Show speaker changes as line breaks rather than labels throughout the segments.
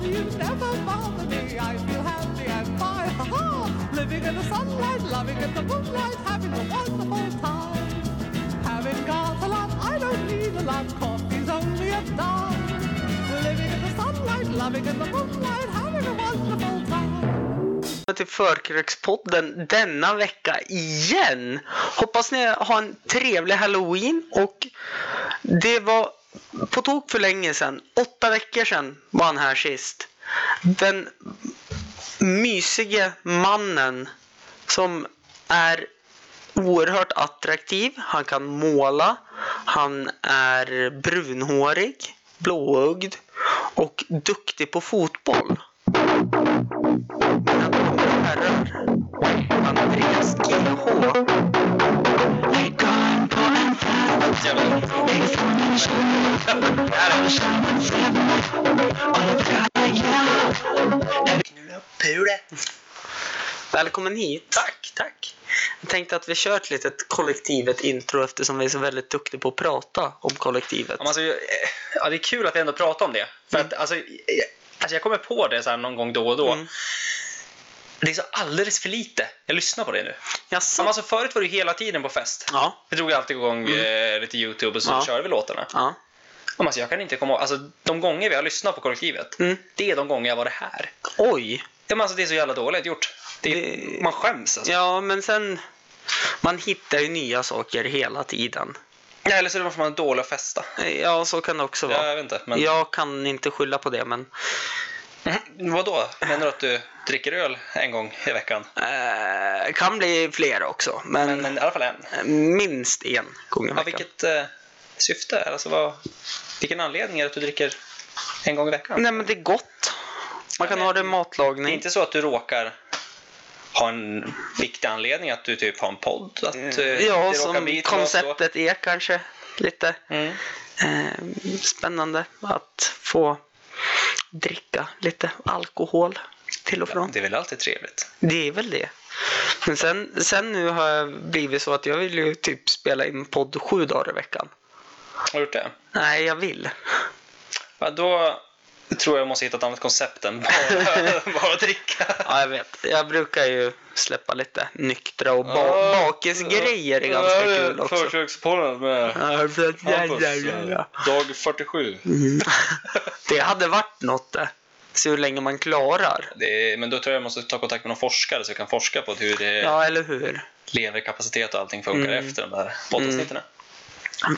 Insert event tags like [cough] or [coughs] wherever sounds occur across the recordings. dreams never bother me. I feel happy and fine. Ha ha! Living in the sunlight, loving in the moonlight, having a wonderful time. Having got a lot, I don't need a lot. Coffee's only a dime. Living in the sunlight, loving in the moonlight, having a wonderful time. [laughs]
Välkomna till Förkrökspodden denna vecka igen. Hoppas ni har en trevlig halloween och det var på tok för länge sedan. Åtta veckor sedan var han här sist. Den mysige mannen som är oerhört attraktiv. Han kan måla. Han är brunhårig, blåögd och duktig på fotboll. Mina damer och herrar, Andreas GH. Pule. Välkommen hit. Tack, tack. Jag tänkte att vi kör ett litet kollektivet intro eftersom vi är så väldigt duktiga på att prata om kollektivet.
Ja, men Alltså, eh, ja, det är kul att vi ändå pratar om det. För att, alltså, eh, alltså, jag kommer på det så här någon gång då och då.
Mm.
Det är så alldeles för lite. Jag lyssnar på det nu. Ja, men
Jaså?
Alltså, förut var det ju hela tiden på fest.
Ja. Mm.
Vi drog alltid igång eh, lite YouTube och så
Ja.
körde vi låtarna. Ja,
Ja.
men Alltså, jag kan inte komma ihåg. Alltså, de gånger vi har lyssnat på kollektivet,
Mm.
det är de gånger jag var det här.
Oj.
Ja, men alltså, det är så jävla dåligt gjort. Det är,
Det-
Man skäms alltså.
Ja, men sen... Man hittar ju nya saker hela tiden.
Ja, eller så är det för man är dålig att festa.
Ja, så kan det också
Ja,
vara.
jag vet inte. Men...
Jag kan inte skylla på det, men...
Mm, Vadå? Menar du att du dricker öl en gång i veckan?
Eh, kan bli fler också, men,
Men i alla fall en.
eh, minst en gång i
Ja,
veckan.
vilket eh, syfte? är det? Alltså, vad, vilken anledning är det att du dricker en gång i veckan?
Nej, men det är gott. Man kan
men-
ha det i
Det är
matlagning.
inte så att du råkar ha en viktig anledning, att du typ har en podd? Att, eh, det
Mm. ja,
råkar
som
bli till oss då?
konceptet är kanske lite
Mm.
eh, spännande att få dricka lite alkohol till och från.
Det är väl alltid trevligt?
Det är väl det. Men sen, sen nu har jag blivit så att jag vill ju typ spela in podd sju dagar i veckan.
Har du gjort det?
Nej, jag vill.
Ja, då tror jag jag måste hitta ett annat koncept än [laughs] bara, bara dricka.
Ja, jag vet. Jag brukar ju släppa lite nyktra och ba-
Ja.
bakisgrejer. är ganska
Ja, det är
kul också.
Förkökspodden med
Ja, så att- ja,
Hampus,
ja, ja, ja.
eh,
[laughs]
Dag 47.
Mm. Det hade varit något det. Se hur länge man klarar.
Det är, men då tror jag jag måste ta kontakt med någon forskare så jag kan forska på hur det
Ja, eller hur?
leverkapacitet och allting funkar
Mm.
efter de där poddavsnitten.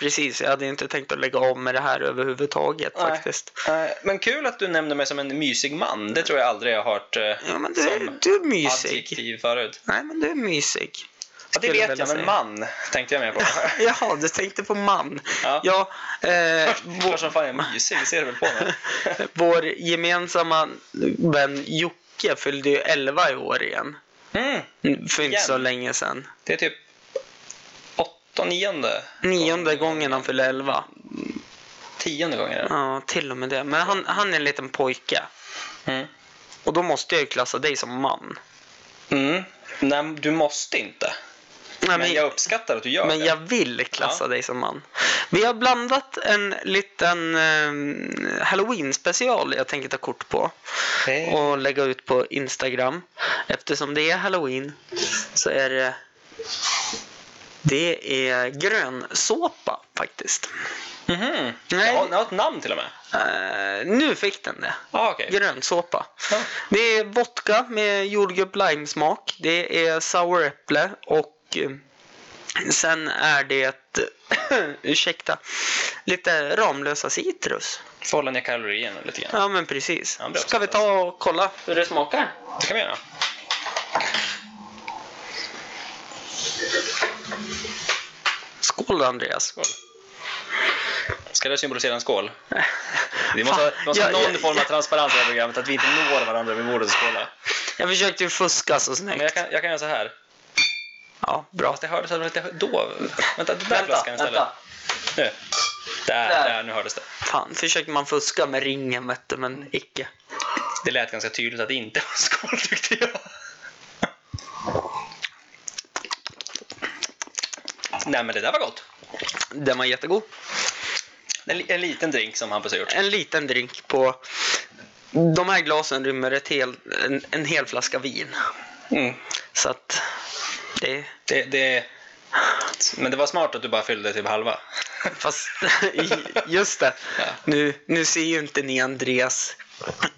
Precis, jag hade inte tänkt att lägga av med det här överhuvudtaget
Nej.
faktiskt.
Eh, Men kul att du nämnde mig som en mysig man. Det tror jag aldrig jag har hört eh,
Ja, men du,
Som
du är mysig.
adjektiv förut.
Nej, men du är mysig.
Ja, det
Skulle
vet
vilja
jag, men
säga.
man tänkte jag mer på.
Jaha, du tänkte på man.
Ja.
Ja, [laughs]
[laughs]
eh,
Klart som fan jag är mysig, det ser du väl på
[laughs]
mig?
vår gemensamma vän Jocke fyllde ju 11 i år igen.
Mm,
För inte
Igen?
så länge sedan.
det är typ åtta, nionde,
Nionde gången han fyllde 11.
tionde gången. är det.
Ja, till och med det. Men han, han är en liten pojke.
Mm.
Och då måste jag ju klassa dig som man.
Mm. Nej, du måste inte.
Nej,
Men jag uppskattar att du gör
men
det.
jag vill klassa
Ja.
dig som man. Vi har blandat en liten eh, halloween-special jag tänker ta kort på.
Okej.
och lägga ut på Instagram. Eftersom det är halloween så är det det är grönsåpa faktiskt.
Mhm.
Nej.
Jag, har, jag har ett namn till och med.
Eh, nu fick den det.
Ah, okej.
Grönsåpa.
Ja.
Det är vodka med jordgubb limesmak. Det är sour äpple och eh, sen är det [clears throat] ursäkta lite Ramlösa citrus.
Får hålla ner kalorierna lite grann.
Ja men precis.
Ja, bra.
Ska vi ta och kolla hur det smakar?
Det kan vi göra.
Skål Andreas.
Skål. Ska det symbolisera en skål? [laughs] Vi måste, ha- vi måste ha
Ja,
någon
ja,
form av
ja.
transparens i det här programmet, att vi inte når varandra vid bordet och skålar.
Jag försökte ju fuska så
Men
snyggt.
jag kan, jag kan göra så här.
Ja, bra.
Fast det hördes att det var lite dov. Vänta, den där flaskan istället.
vänta.
Nu. Där,
Där.
där. nu hördes det.
Fan, försökte man fuska med ringen vet du, men icke.
Det lät ganska tydligt att det inte var en skål tyckte jag. Nej men det där var gott.
Den var jättegod.
En, li- en liten drink som Hampus har gjort.
En liten drink på de här glasen rymmer ett hel, en, en hel flaska vin.
Mm.
Så att det...
Det, det, men det var smart att du bara fyllde typ halva.
Fast [laughs] just det.
Ja.
Nu, nu ser ju inte ni Andreas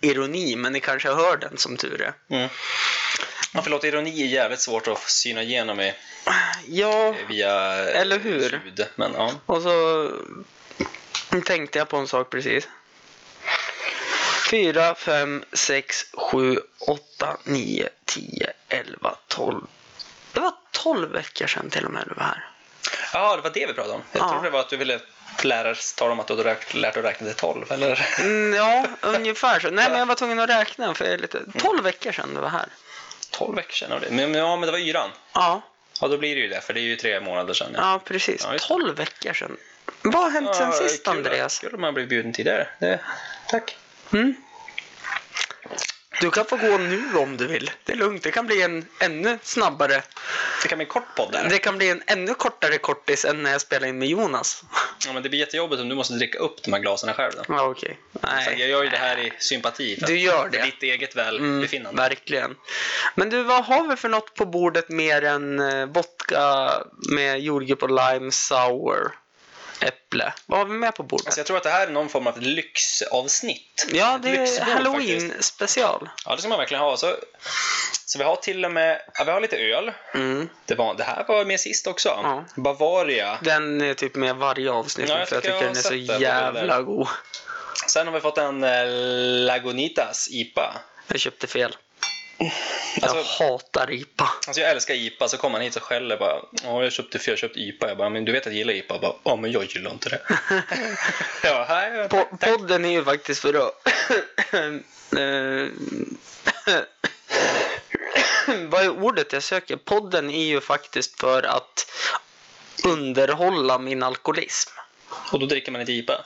ironi, men ni kanske hör den som tur är.
Mm. Ja, förlåt, ironi är jävligt svårt att syna igenom i,
Ja,
via eh,
Eller hur?
ljud. Men, ja.
och så tänkte jag på en sak precis. fyra fem sex sju åtta nio tio elva tolv Det var 12 veckor sedan till och med du var här.
ja, det var det vi pratade om. Jag
Ja.
trodde det var att du ville lära tala om att du hade räkt- lärt dig att räkna till 12. Eller? [laughs]
Mm, ja, ungefär så. Nej, men jag var tvungen att räkna för jag är lite... 12 veckor sedan du var här.
12 veckor sedan. var det. Men, men, ja, men det var yran.
Ja,
Ja, då blir det ju det, för det är ju tre månader sedan.
ja precis.
Ja, just det.
12 veckor sedan. Vad har hänt sen
Ja,
sist,
kul att-
Andreas?
Kul om man blir bjuden tidigare. Det, tack.
Mm. Du kan få gå nu om du vill. Det är lugnt. Det kan bli en ännu snabbare.
Det kan bli en kort podd där.
Det kan bli en ännu kortare kortis än när jag spelade in med Jonas.
Ja, men det blir jättejobbigt om du måste dricka upp de här glasen själv. Då.
Ja, okej.
Så jag
Nej.
gör ju det här i sympati. För
Du
att-
gör det.
För ditt eget
Mm,
välbefinnande.
verkligen. Men du, vad har vi för något på bordet mer än eh, vodka med jordgubb och lime sour? Äpple. Vad har vi med på bordet?
Alltså jag tror att det här är någon form av lyxavsnitt.
ja,
Ett
det är
lyxbord,
halloween
faktiskt.
special.
Ja, det ska man verkligen ha. Så, så vi har till och med ja, vi har lite öl.
Mm.
Det, var, det här var med sist också.
Ja.
Bavaria.
Den är typ med varje avsnitt
Ja, jag
för jag
tycker
tycker
jag har
den är så
sett den på bilder.
jävla god.
Sen har vi fått en eh, Lagunitas IPA.
Jag köpte fel.
Alltså-
jag hatar IPA.
Alltså jag älskar IPA, så kommer man hit och skäller bara Ja, jag köpte fyra, jag köpte IPA. Jag bara, men du vet att jag gillar IPA? Jag bara, ja, men jag gillar
[laughs]
inte det. jag bara, här,
Po-
tack, tack.
podden är ju faktiskt för att... [coughs] Eh, [coughs] Vad är ordet jag söker? Podden är ju faktiskt för att underhålla min alkoholism.
Och då dricker man inte IPA?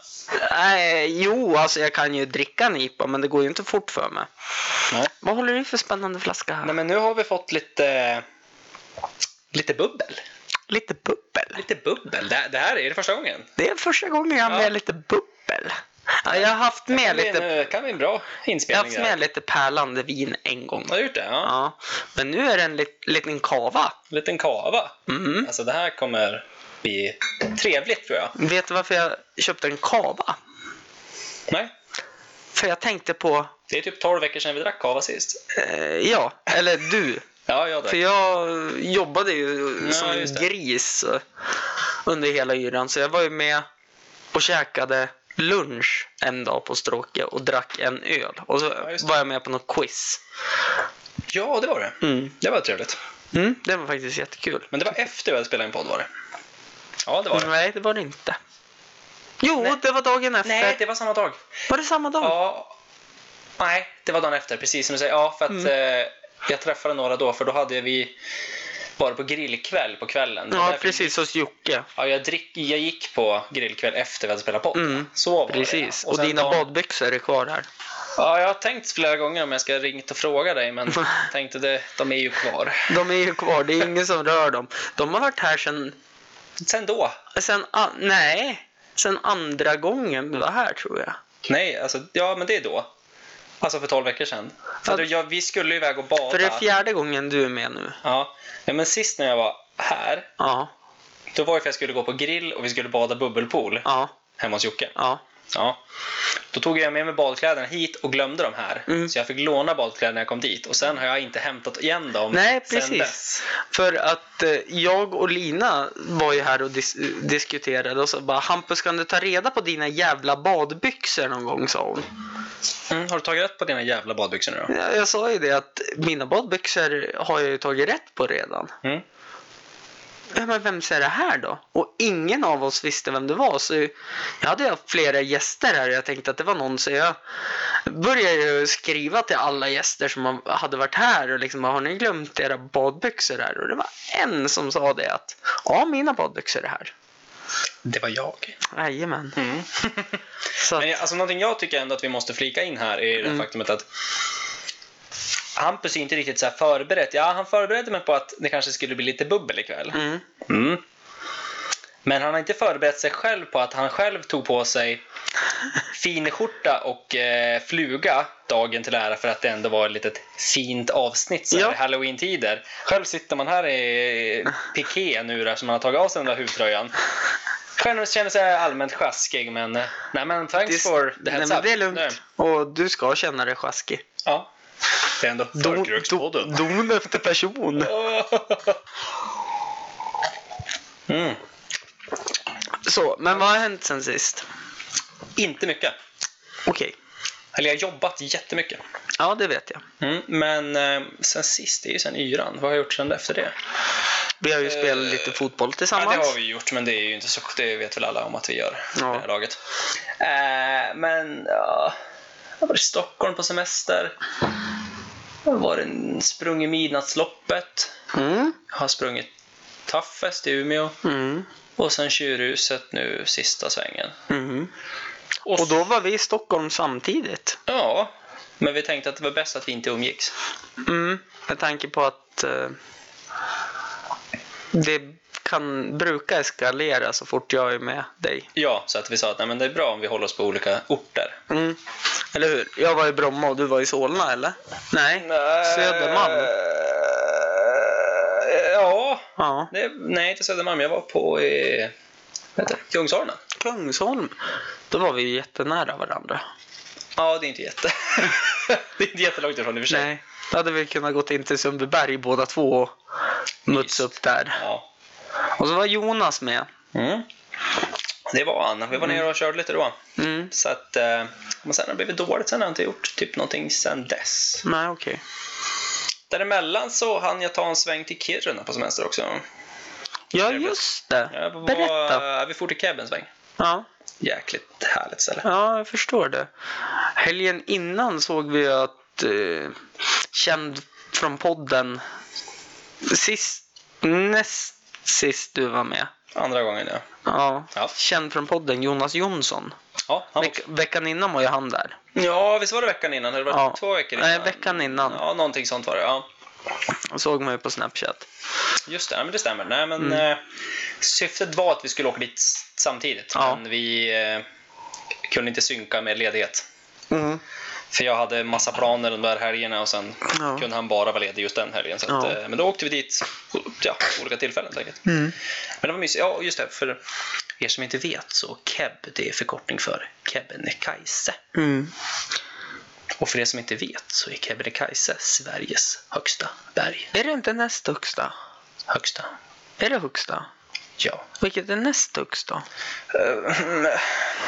Nej, jo, alltså jag kan ju dricka en IPA, men det går ju inte fort för mig.
Nej.
Vad håller du för spännande flaska här?
Nej, men nu har vi fått lite, lite bubbel.
Lite bubbel.
Lite bubbel. Det, det här är det första gången.
Det är första gången jag har
Ja.
med lite bubbel. Ja, jag har haft med
Det kan
lite
bli en, eh, kan bli en bra
Jag har
inspelning.
haft
där.
med lite pärlande vin en gång.
Har du gjort det? Ja.
Ja. Men nu är det en lit, liten kava.
Liten kava.
Mm.
Alltså det här kommer bli trevligt tror jag.
Vet du varför jag köpte en kava?
Nej,
För jag tänkte på,
det är typ 12 veckor sedan vi drack kava sist.
eh, ja, eller du.
Ja, jag
För
drack.
jag jobbade ju
Ja,
som en
just det.
gris eh, under hela yran. Så jag var ju med och käkade lunch en dag på Stråke och drack en öl. Och så
just det.
var jag med på något quiz.
Ja, det var det.
Mm.
Det var trevligt.
Mm, det var faktiskt jättekul.
Men det var efter vi hade spelat en podd var det? Ja, det var det.
Nej, det var det inte. Jo,
Nej.
det var dagen efter.
Nej, det var samma dag.
Var det samma dag?
Ja. Nej, det var dagen efter. Precis som du säger. Ja, för
Mm.
att eh, jag träffade några då. För då hade vi varit på grillkväll på kvällen. Det var
Ja,
därför-
precis. Hos Jocke.
Ja, jag, drick, jag gick på grillkväll efter vi hade spelat podd.
Mm,
Så var det.
Precis. Och,
sen
dina
dagen-
badbyxor är kvar här.
Ja, jag har tänkt flera gånger om jag ska ringt och fråga
[laughs]
dig, men tänkte det, de är ju kvar.
De är ju kvar. Det är ingen som rör dem. De har varit här sen...
Sen då?
sen a- nej. Sen andra gången du var här, tror jag.
Nej, alltså, ja, men det är då. Alltså för 12 veckor sedan. För
Ja.
då, jag, vi skulle ju iväg och bada.
För det är fjärde gången du är med nu.
ja. ja, men sist när jag var här,
Ja.
då var det för att jag skulle gå på grill och vi skulle bada bubbelpool
Ja.
hemma hos Jocke.
Ja.
Ja. Då tog jag med mig badkläderna hit och glömde dem här.
Mm.
Så jag fick låna badkläderna när jag kom dit. Och sen har jag inte hämtat igen dem
Nej,
sen dess.
precis. För att eh, jag och Lina var ju här och dis- diskuterade och så bara Hampus kan du ta reda på dina jävla badbyxor någon gång sa hon.
Mm, har du tagit rätt på dina jävla badbyxor nu då?
Jag, jag sa ju det att mina badbyxor har jag ju tagit rätt på redan.
Mm.
Ja, men vem är det här då? Och ingen av oss visste vem det var. Så jag hade ju haft flera gäster här och jag tänkte att det var någon. Så jag började ju skriva till alla gäster som hade varit här och liksom har ni glömt era badbyxor här? Och det var en som sa det att ja, mina badbyxor är här.
Det var jag.
Jajamän.
Mm.
Så att,
[laughs] Men jag- alltså, någonting jag tycker ändå att vi måste flika in här är
Mm.
det faktumet att Hampus är inte riktigt så här förberett. Ja, han förberedde mig på att det kanske skulle bli lite bubbel ikväll.
mm,
Mm. Men han har inte förberett sig själv på att han själv tog på sig finskjorta och eh, fluga dagen till ära för att det ändå var ett litet fint avsnitt så här
Ja.
i halloween-tider. Själv sitter man här i piké nu där som man har tagit av sig den där huvtröjan. Själv känner sig allmänt sjaskig men eh, nej men thanks for the
nej,
heads
men
up.
det är lugnt.
Nej.
Och du ska känna dig sjaskig.
Ja. Det är ändå
Don,
Förkrökspodden.
don efter person.
[laughs] Mm.
Så, men vad har hänt sen sist?
Inte mycket.
Okej.
Eller jag har jobbat jättemycket.
Ja, det vet jag.
Mm, men eh, sen sist, det är ju sen yran. Vad har jag gjort sen efter det?
Vi har ju spelat
Eh,
lite fotboll
Ja,
tillsammans.
det har vi gjort, men det är ju inte så. Det vet väl alla om att vi gör
Ja.
ja. det här laget. Eh, men ja, jag har varit i Stockholm på semester. Jag har varit en- sprungit midnattsloppet.
Mm.
Jag har sprungit Taffest i Umeå
Mm.
och sen Tjurhuset nu sista svängen.
Mm.
Och,
Och då var vi i Stockholm samtidigt.
Ja, men vi tänkte att det var bäst att vi inte umgicks.
Mm. Med tanke på att eh, det kan brukar eskalera så fort jag är med dig.
Ja, så att vi sa att nej, men det är bra om vi håller oss på olika orter.
Mm. Eller hur? Jag var i Bromma och du var i Solna, eller? Nej, Södermalm.
Eh, Ja,
Ja,
det, nej inte Södermalm. Jag var på eh, vad heter det? Kungsholmen.
Kungsholm. Då var vi ju jättenära varandra.
Ja, det är inte jätte... [laughs] det är inte jättelångt ifrån i och för sig.
Nej, då hade vi kunnat gått in till Sundbyberg båda två och mötts upp där.
Ja.
Och så var Jonas med.
Mm. Det var han. Vi var nere och körde lite då.
Mm.
Så att, eh, men sen har det blivit dåligt. Sen har jag inte gjort typ någonting sen dess.
Nej, okej.
Däremellan så hann jag ta en sväng till Kiruna på semester också.
Ja,
Trevligt.
just det.
Jag var,
Berätta.
Vi for till Keb en sväng.
Ja.
Jäkligt härligt ställe.
ja, jag förstår det. Helgen innan såg vi att eh, känd från podden sist, näst sist du var med.
Andra gången ja.
Ja.
Ja.
Känd från podden Jonas Jonsson.
Ja, han
Veck, veckan innan var ju han där.
ja visst var det veckan innan? Eller var det
Ja.
två veckor innan?
Nej, veckan innan.
Ja, någonting sånt var det. Ja.
Såg man ju på Snapchat.
Just det, ja, men det stämmer. Nej, men,
Mm.
eh, syftet var att vi skulle åka dit s- samtidigt,
Ja.
men vi eh, kunde inte synka med ledighet. Mm. För jag hade massa planer de där helgerna och sen
Ja.
kunde han bara vara ledig just den helgen. Så att,
Ja.
eh, Men då åkte vi dit ja, olika tillfällen helt enkelt.
Mm.
Men det var mysigt. Ja, just det. För er som inte vet så KEB, det är förkortning för Kebnekaise.
Mm.
Och för er som inte vet så är Kebnekaise Sveriges högsta berg.
Är det inte näst högsta?
Högsta.
Är det högsta?
Ja.
Vilket är näst högst då?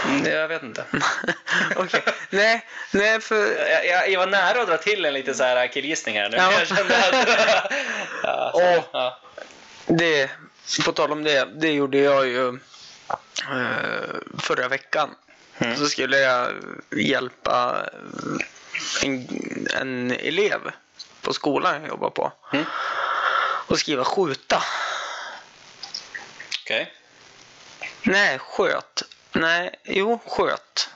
Eh, jag vet inte.
[laughs] Okej, nej, nej för...
Jag, jag, jag var nära att dra till en liten så här killgissning här nu.
Ja.
men Jag kände att...
[laughs]
ja, så,
Åh.
ja.
Det, på tal om det, det gjorde jag ju eh, förra veckan.
Mm.
Så skulle jag hjälpa eh, en, en elev på skolan jag jobbar på
Mm.
och skriva skjuta.
Okej.
Nej, sköt. Nej, jo, sköt.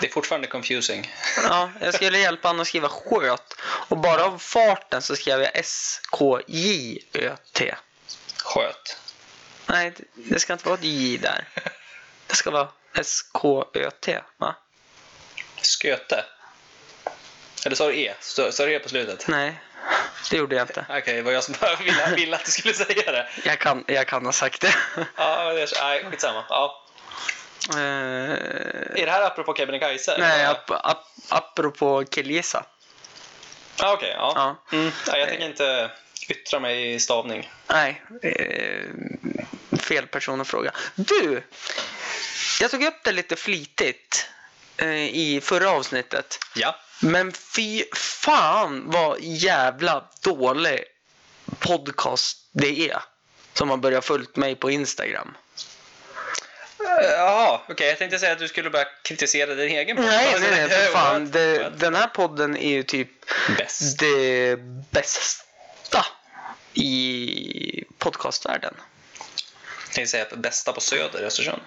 Det är fortfarande confusing.
Ja, jag skulle hjälpa honom att skriva sköt. Och bara av farten så skrev jag S-K-J-Ö-T.
Sköt.
Nej, det- det ska inte vara ett J där. Det ska vara S-K-Ö-T, va?
Sköte. Eller sa du E? Stö- Sa du E på slutet?
Nej, det gjorde jag inte.
Okej, det var jag som bara ville, ville att du skulle säga det.
Jag kan, jag kan ha sagt det.
Ja, det är, så- nej, skitsamma. Ja.
[laughs] Eh,
Är det här apropå Kebnekaise?
nej,
Ja.
ap ap apropå killgissa.
Ah, Okej, ja.
Ja. Eh.
Mm. ja. Jag tänker inte yttra mig i stavning.
Nej, eh, fel person att fråga. Du! Jag tog upp det lite flitigt eh, i förra avsnittet.
Ja.
Men fy fan vad jävla dålig podcast det är. Som har börjat följt mig på Instagram.
Jaha, Eh, okej. jag tänkte säga att du skulle börja kritisera din egen podd.
Nej, nej, nej, för
[laughs]
fan.
What?
Det,
What?
den här podden är ju typ
Bäst.
det bästa i podcastvärlden.
Jag tänkte säga att bästa på Söder i Östersund.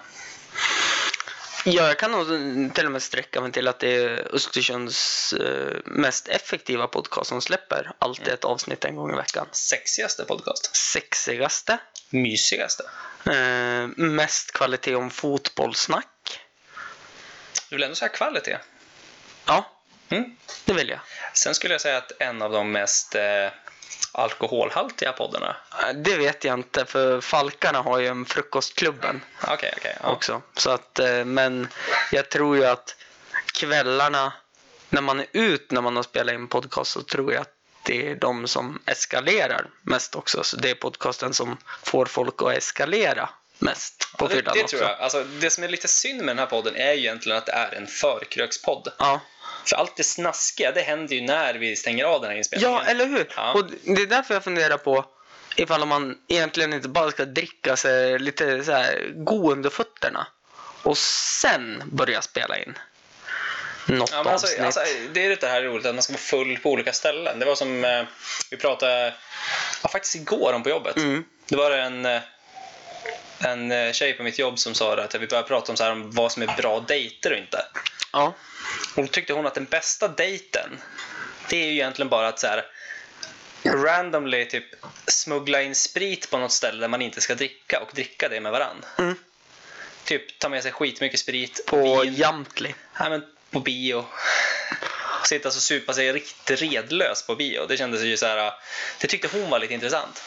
Ja, jag kan nog till och med sträcka mig till att det är Östersunds eh, mest effektiva podcast som släpper alltid ett avsnitt en gång i veckan.
Sexigaste podcast.
Sexigaste.
Mysigaste.
Eh, mest kvalitet om fotbollssnack.
Du vill ändå säga kvalitet?
Ja,
Mm.
det vill jag.
Sen skulle jag säga att en av de mest eh, alkoholhaltiga poddarna.
Eh, Det vet jag inte för Falkarna har ju en Frukostklubben
Ah, Okej, okej. ja.
också. Så att, eh, men jag tror ju att kvällarna när man är ut när man har spelat in podcast så tror jag att det är de som eskalerar mest också. Så det är podcasten som får folk att eskalera mest på
Ja, det,
fyllan
det
också.
tror jag. Alltså, det som är lite synd med den här podden är ju egentligen att det är en förkrökspodd.
Ja.
För allt det snaskiga, det händer ju när vi stänger av den här inspelningen.
ja, eller hur?
Ja.
Och det är därför jag funderar på ifall man egentligen inte bara ska dricka sig lite så här gå under fötterna och sen börja spela in något
Ja, men alltså,
avsnitt.
alltså, det är det här roligt att man ska vara full på olika ställen. Det var som eh, vi pratade ja, faktiskt igår om på jobbet.
Mm.
Det var en, eh, en eh, tjej på mitt jobb som sa det att vi började prata om, så här, om vad som är bra dejter och inte.
Ja.
Och då tyckte hon att den bästa dejten, det är ju egentligen bara att så här randomly typ smuggla in sprit på något ställe där man inte ska dricka och dricka det med varann.
Mm.
Typ ta med sig skitmycket sprit,
På
vin,
Jamtli.
Nej, men på bio. Sitta och supa sig riktigt redlös på bio. Det kändes ju så här. Det tyckte hon var lite intressant.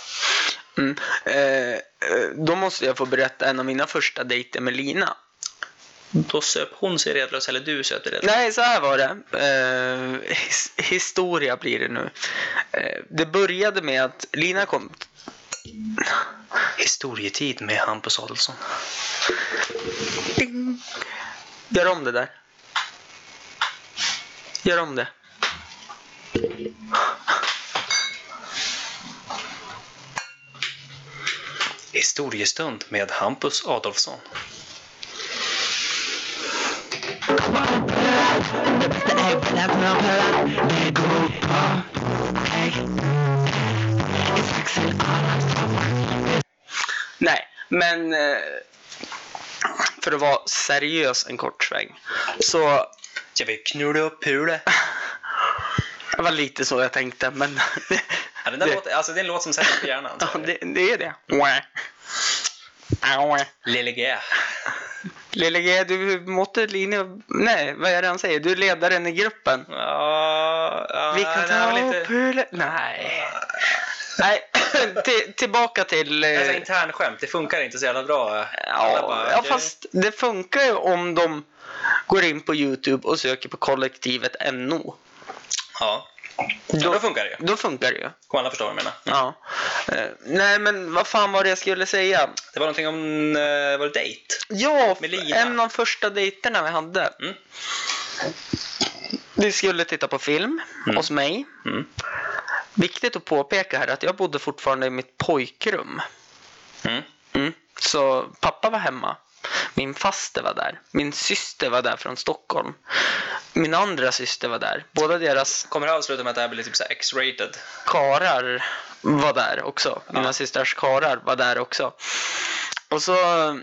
Mm. Eh, eh, då måste jag få berätta en av mina första dejter med Lina.
Då söp hon sig redlös eller du söp dig redlös.
Nej, så här var det. Eh, his historia blir det nu. Eh, det började med att Lina kom
Historietid med Hampus Adolfsson.
Ding. Gör om det där. Gör om det.
Historiestund med Hampus Adolfsson.
Nej, men eh, för att vara seriös en kort sväng. Så
Jag vill knulla upp Pule.
det var lite så jag tänkte, men
Ja, den där
Det-
låten, alltså det är en låt som sätter sig på hjärnan.
[laughs] ja, det, det är det. Mwah. Aue.
Lille G.
Lille G, du måtte linje... Nej, vad är det han säger? Du är ledaren i gruppen.
Ja, ja,
Vi kan
det här
ta
var
lite... Nej. Nej, [clears throat] till, tillbaka till... eh,
Alltså internskämt, det funkar inte så jävla bra. Alla
Ja,
bara,
ja,
okej.
fast det funkar ju om de går in på Youtube och söker på kollektivet NO.
Ja. ja, då funkar det ju.
Då funkar det ju.
Kommer alla förstå vad jag menar.
Ja. Eh, nej, men vad fan var det jag skulle säga?
Det var någonting om, eh, var det dejt?
Ja,
Med Lina.
en av första dejterna vi hade.
Mm.
Vi skulle titta på film
Mm.
hos mig.
Mm.
Viktigt att påpeka här att jag bodde fortfarande i mitt pojkrum.
Mm.
Mm. Så pappa var hemma. Min faster var där. Min syster var där från Stockholm. Min andra syster var där. Båda deras
Kommer det avsluta med att det här blir typ så här X-rated?
karar var där också. Mina
Ja.
systrars karar var där också. Och så eh,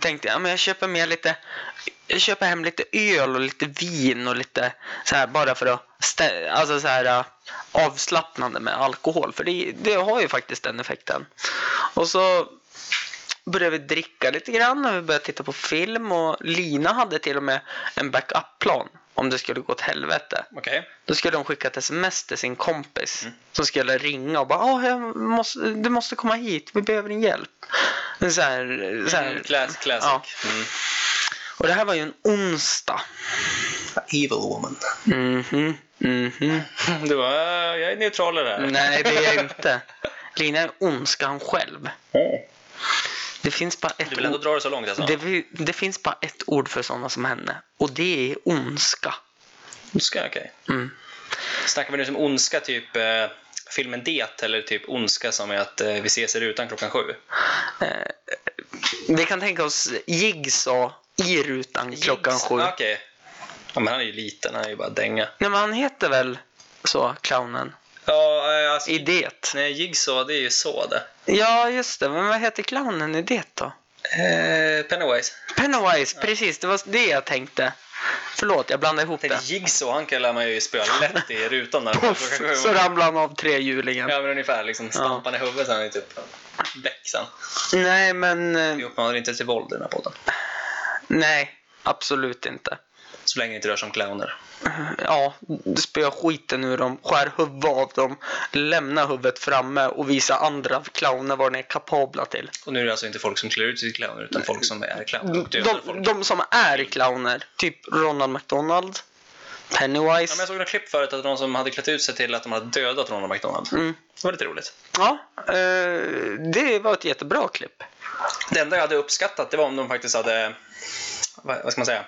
tänkte jag, ja, men jag köper med lite jag köper hem lite öl och lite vin och lite så här bara för att stä- alltså så här äh, avslappnande med alkohol för det, det har ju faktiskt den effekten. Och så började vi dricka lite grann och vi började titta på film och Lina hade till och med en backup-plan om det skulle gå åt helvete.
Okej.
Då skulle de skicka ett sms till sin kompis
Mm.
som skulle ringa och bara "Ah, jag måste, du måste komma hit, vi behöver din hjälp. En Så här, så här.
Mm, class, classic.
Ja.
Mm.
Och det här var ju en onsdag.
Evil woman.
Mhm, mhm.
[laughs] Du bara, "Äh, jag är neutral i det här.
Nej, det är jag inte. Lina är ondskan själv.
Mm.
Det finns bara ett
[laughs] Du vill ändå
ord.
dra det så långt alltså?
Det, vi- det finns bara ett ord för sådana som henne och det är ondska.
Ondska, okej.
Mm.
Snackar vi nu som ondska typ eh, filmen Det eller typ ondska som är att eh, vi ses i rutan klockan sju?
Eh, Vi kan tänka oss Jigsaw i rutan klockan
Jigs-
sju.
Ah, Okej. Ja, men han är ju liten, han är ju bara dänga.
Nej, men han heter väl så, clownen?
Ja, eh, alltså,
I det.
nej, Jigsaw det är ju så det.
Ja, just det. Men vad heter clownen i det då?
Eh, Pennywise.
Pennywise, precis. Det var det jag tänkte. Förlåt, jag blandade ihop
Tänk
det.
Jigsaw, han kan man ju spöa lätt i
[laughs]
rutan när klockan
Poff,
sju.
så ramlade han av trehjulingen.
Ja men ungefär, liksom stampan i huvudet så han är typ växan.
Nej, men... eh,
Vi uppmanar inte till våld i den här podden.
Nej. Absolut inte.
Så länge det inte rör sig om clowner.
Ja, spöa skiten ur dem, skär huvudet av dem, lämna huvudet framme och visa andra clowner vad de är kapabla till.
Och nu är det alltså inte folk som klär ut sig till clowner utan folk som är clowner och dödar folk.
De, de som är clowner, typ Ronald McDonald,
Ja, men
Pennywise.
jag såg några klipp förut att någon som hade klätt ut sig till att de hade dödat Ronald McDonald.
Mm.
Det var lite roligt.
Ja, eh, det var ett jättebra klipp.
Det enda jag hade uppskattat det var om de faktiskt hade, vad vad ska man säga,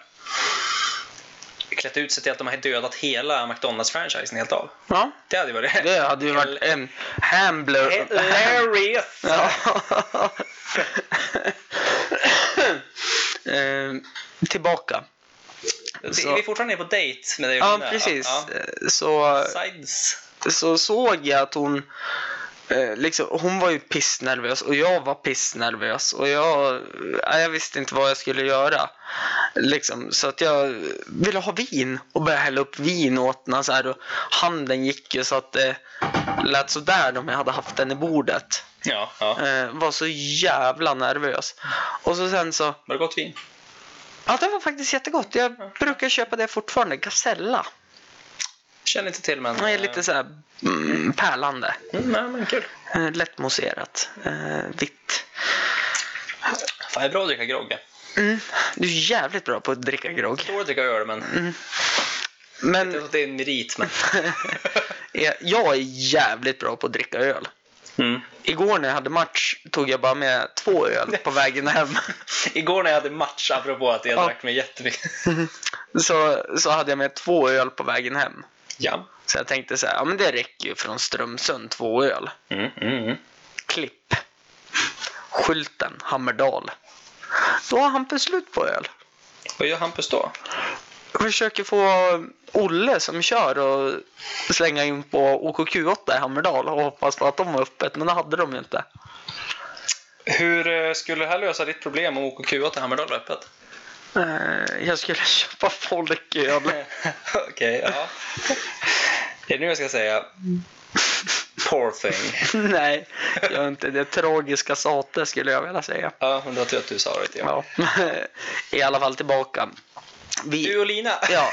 klätt ut sig till att de hade dödat hela McDonalds-franchisen helt av.
Ja,
Det hade ju varit
det hade ju varit en hambler.
[laughs] Hilarious!
Ja. [laughs] eh, tillbaka.
Det- Vi är fortfarande på dejt med dig.
Ja,
Linda.
precis.
Ja.
Eh, Så,
Sides.
så såg jag att hon eh, Liksom, hon var ju pissnervös och jag var pissnervös och jag, nej, jag visste inte vad jag skulle göra. Liksom, så att jag ville ha vin och började hälla upp vin åt henne så här och handen gick ju så att det lät sådär om jag hade haft den i bordet.
Ja, ja.
Eh, var så jävla nervös. Och så sen så,
Var det gott vin?
ja det var faktiskt jättegott. Jag brukar köpa det fortfarande, Gasella.
Känner inte till men... eh,
Det är lite så här mm, pärlande.
Mm, nej, men kul.
Eh, Lättmousserat. Eh, vitt.
Fan, jag är bra att dricka grogg.
Mm. Du är jävligt bra på att dricka grogg.
Står att dricka öl men... Det är
Men
så att det är en
[laughs]
merit men...
eh, jag är jävligt bra på att dricka öl.
Mm.
Igår när jag hade match tog jag bara med två öl på vägen hem. [laughs]
Igår när jag hade match, apropå att jag
Ja.
drack mig jättemycket.
Så, så hade jag med två öl på vägen hem.
Ja.
Så jag tänkte så här, ja men det räcker ju från Strömsund, två öl.
Mm, mm, mm.
Klipp. Skylten, Hammerdal. Då har Hampus slut på öl.
Vad gör Hampus då?
Jag försöker få Olle som kör och slänga in på OKQ8 i Hammerdal och hoppas på att de var öppet, men det hade de ju inte.
Hur eh, skulle det här lösa ditt problem om OKQ till Hammerdal var öppet?
[laughs] Eh, Jag skulle [laughs] köpa folköl.
Okej, ja. Det är nu jag ska säga Poor thing.
[laughs] Nej, gör inte det. Tragiska sater skulle jag vilja säga.
Ja, men det var tur att du sa det till mig.
Ja. [laughs] I alla fall tillbaka. Vi,
Du och Lina!
ja.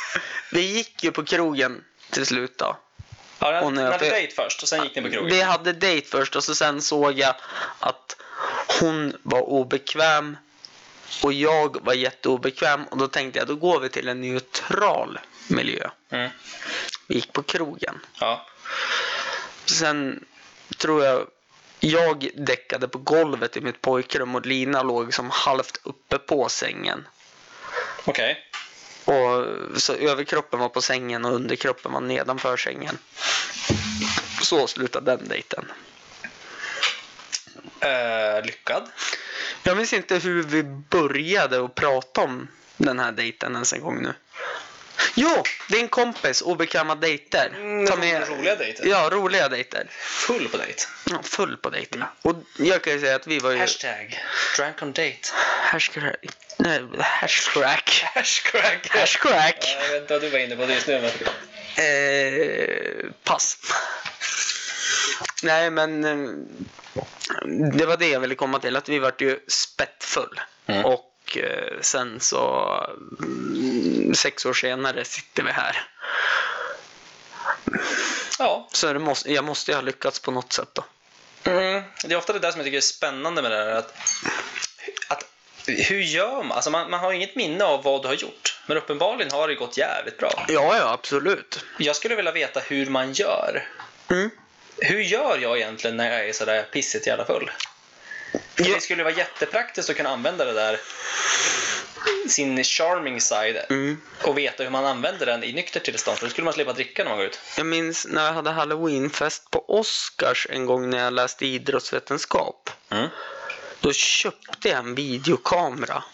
[laughs] Vi gick ju på krogen till slut då.
[laughs] Ja,
Och
ni
när jag-
hade dejt först och sen gick ni på krogen.
Vi hade dejt först och så sen såg jag att hon var obekväm och jag var jätteobekväm och då tänkte jag då går vi till en neutral miljö.
Mm.
Vi gick på krogen.
Ja.
Sen tror jag jag däckade på golvet i mitt pojkrum och Lina låg som halvt uppe på sängen.
Okej.
Och så överkroppen var på sängen och underkroppen var nedanför sängen. Så slutade den dejten.
Eh, lyckad.
Jag minns inte hur vi började att prata om den här dejten ens en gång nu. Jo, din kompis obekväma dejter.
Mm, roliga dejter.
Ja, roliga dejter.
Full på dejt.
Ja, Full på dejter.
Mm.
Och jag kan ju säga att vi var ju...
Hashtag. Drunk on date.
Hashcrack. Nej, hashcrack.
Hashcrack.
Hashcrack.
Ja, jag vet inte vad du var inne på just nu men...
Eh, pass. Nej, men eh, det var det jag ville komma till. Att vi vart ju spettfull.
Mm.
Och eh, sen så mm, sex år senare sitter vi här.
Ja,
Så det måste, jag måste ju ha lyckats på något sätt då.
Mm. Det är ofta det där som jag tycker är spännande med det här. Att, att, hur gör man? Alltså man? Man har inget minne av vad du har gjort. Men uppenbarligen har det gått jävligt bra.
Ja, ja, absolut.
Jag skulle vilja veta hur man gör.
Mm.
Hur gör jag egentligen när jag är sådär pissigt jävla full? För
Ja.
Det skulle vara jättepraktiskt att kunna använda det där. Sin charming side.
Mm.
Och veta hur man använder den i nykter tillstånd. För då skulle man slippa dricka när man går ut.
Jag minns när jag hade halloweenfest på Oscars en gång när jag läste idrottsvetenskap.
Mm.
Då köpte jag en videokamera.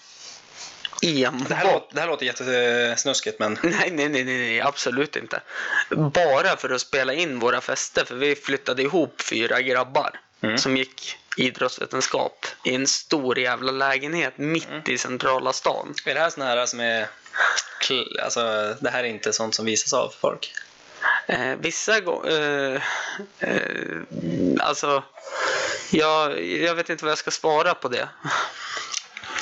Enbart.
Det, här låter, det här låter jättesnuskigt men.
[laughs] Nej, nej, nej, nej, nej, absolut inte. Bara för att spela in våra fester, för vi flyttade ihop fyra grabbar
Mm.
som gick idrottsvetenskap i en stor jävla lägenhet mitt
Mm.
i centrala stan.
Är det här såna här som är... kl- Alltså, det här är inte sånt som visas av folk.
Eh, vissa gånger... Eh, eh, alltså, jag, jag vet inte vad jag ska svara på det.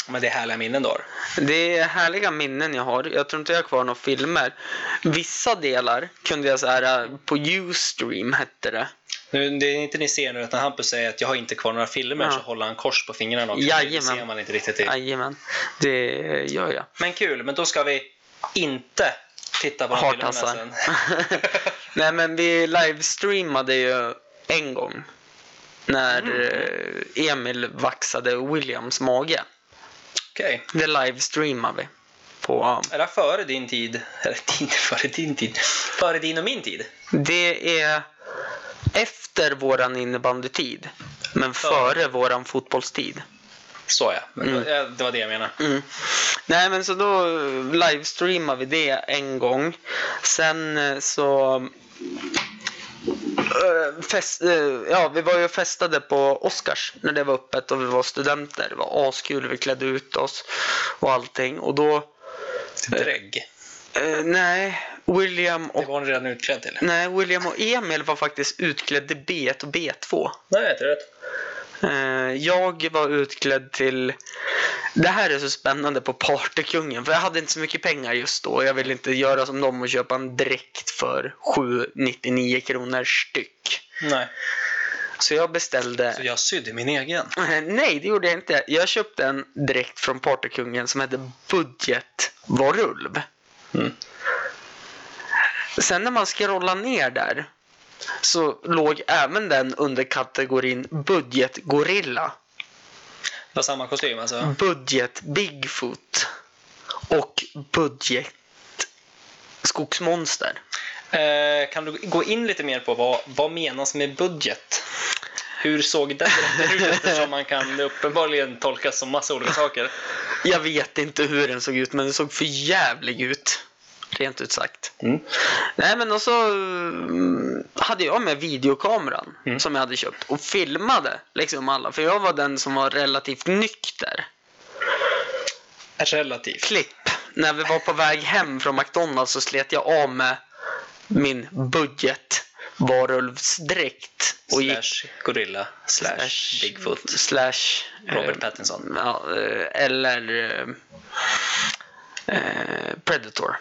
Men det är härliga minnen då.
[laughs] Det är härliga minnen jag har. Jag tror inte jag har kvar några filmer. Vissa delar kunde jag så här äh, på Ustream hette det.
Nu, det är inte ni ser nu, utan Hampus säger att jag har inte kvar några filmer,
Ja.
så håller han kors på fingrarna också. Det
Jajamän.
ser man inte riktigt. i.
Jajamän, det gör jag.
Men kul, men då ska vi inte titta på de filmerna
Hartassar.
sen. [laughs]
[laughs] Nej men vi livestreamade ju en gång. När eh, Emil vaxade Williams mage.
Okej.
Det livestreamade vi. På,
Är det här före din tid? Eller din, [laughs] före din tid? Före din och min tid?
det är efter våran innebandytid. Men före våran fotbollstid.
Så ja, men
Mm.
ja, det var det jag menade.
Mm. Nej men så då eh, livestreamade vi det en gång. Sen eh, så... eh, Fest, eh, ja, vi var ju och festade på Oscars när det var öppet och vi var studenter. Det var askul, vi klädde ut oss och allting. Och då...
Drägg.
eh, nej, William
Det
och,
var hon redan utklädd till.
nej, William och Emil var faktiskt utklädda till B1 och B2.
Nej, jag tror rätt.
Eh, Jag var utklädd till... Det här är så spännande på Partykungen. För jag hade inte så mycket pengar just då. Jag ville inte göra som dem och köpa en dräkt för 7,99 kronor styck.
Nej.
Så jag beställde...
Så jag sydde min egen.
Eh, Nej, det gjorde jag inte. Jag köpte en dräkt från Partykungen som hette Budget Varulv.
Mm.
Sen när man scrollar ner där så låg även den under kategorin budgetgorilla.
Det var samma kostym alltså.
budget Bigfoot och budget skogsmonster.
Eh, kan du gå in lite mer på vad, vad menas med budget? Hur såg det ut? Eftersom man kan uppenbarligen tolkas som massa olika saker.
Jag vet inte hur den såg ut men den såg för jävlig ut. Rent ut sagt.
Mm.
Nej men och så mm, hade jag med videokameran
Mm.
som jag hade köpt och filmade liksom alla. För jag var den som var relativt nykter.
Relativt.
Klipp. När vi var på väg hem från McDonalds så slet jag av med min budget varulvsdräkt. Och gick
Slash gorilla. Slash Bigfoot.
Slash
Robert
eh,
Pattinson.
ja, eh, eller eh, eh, Predator.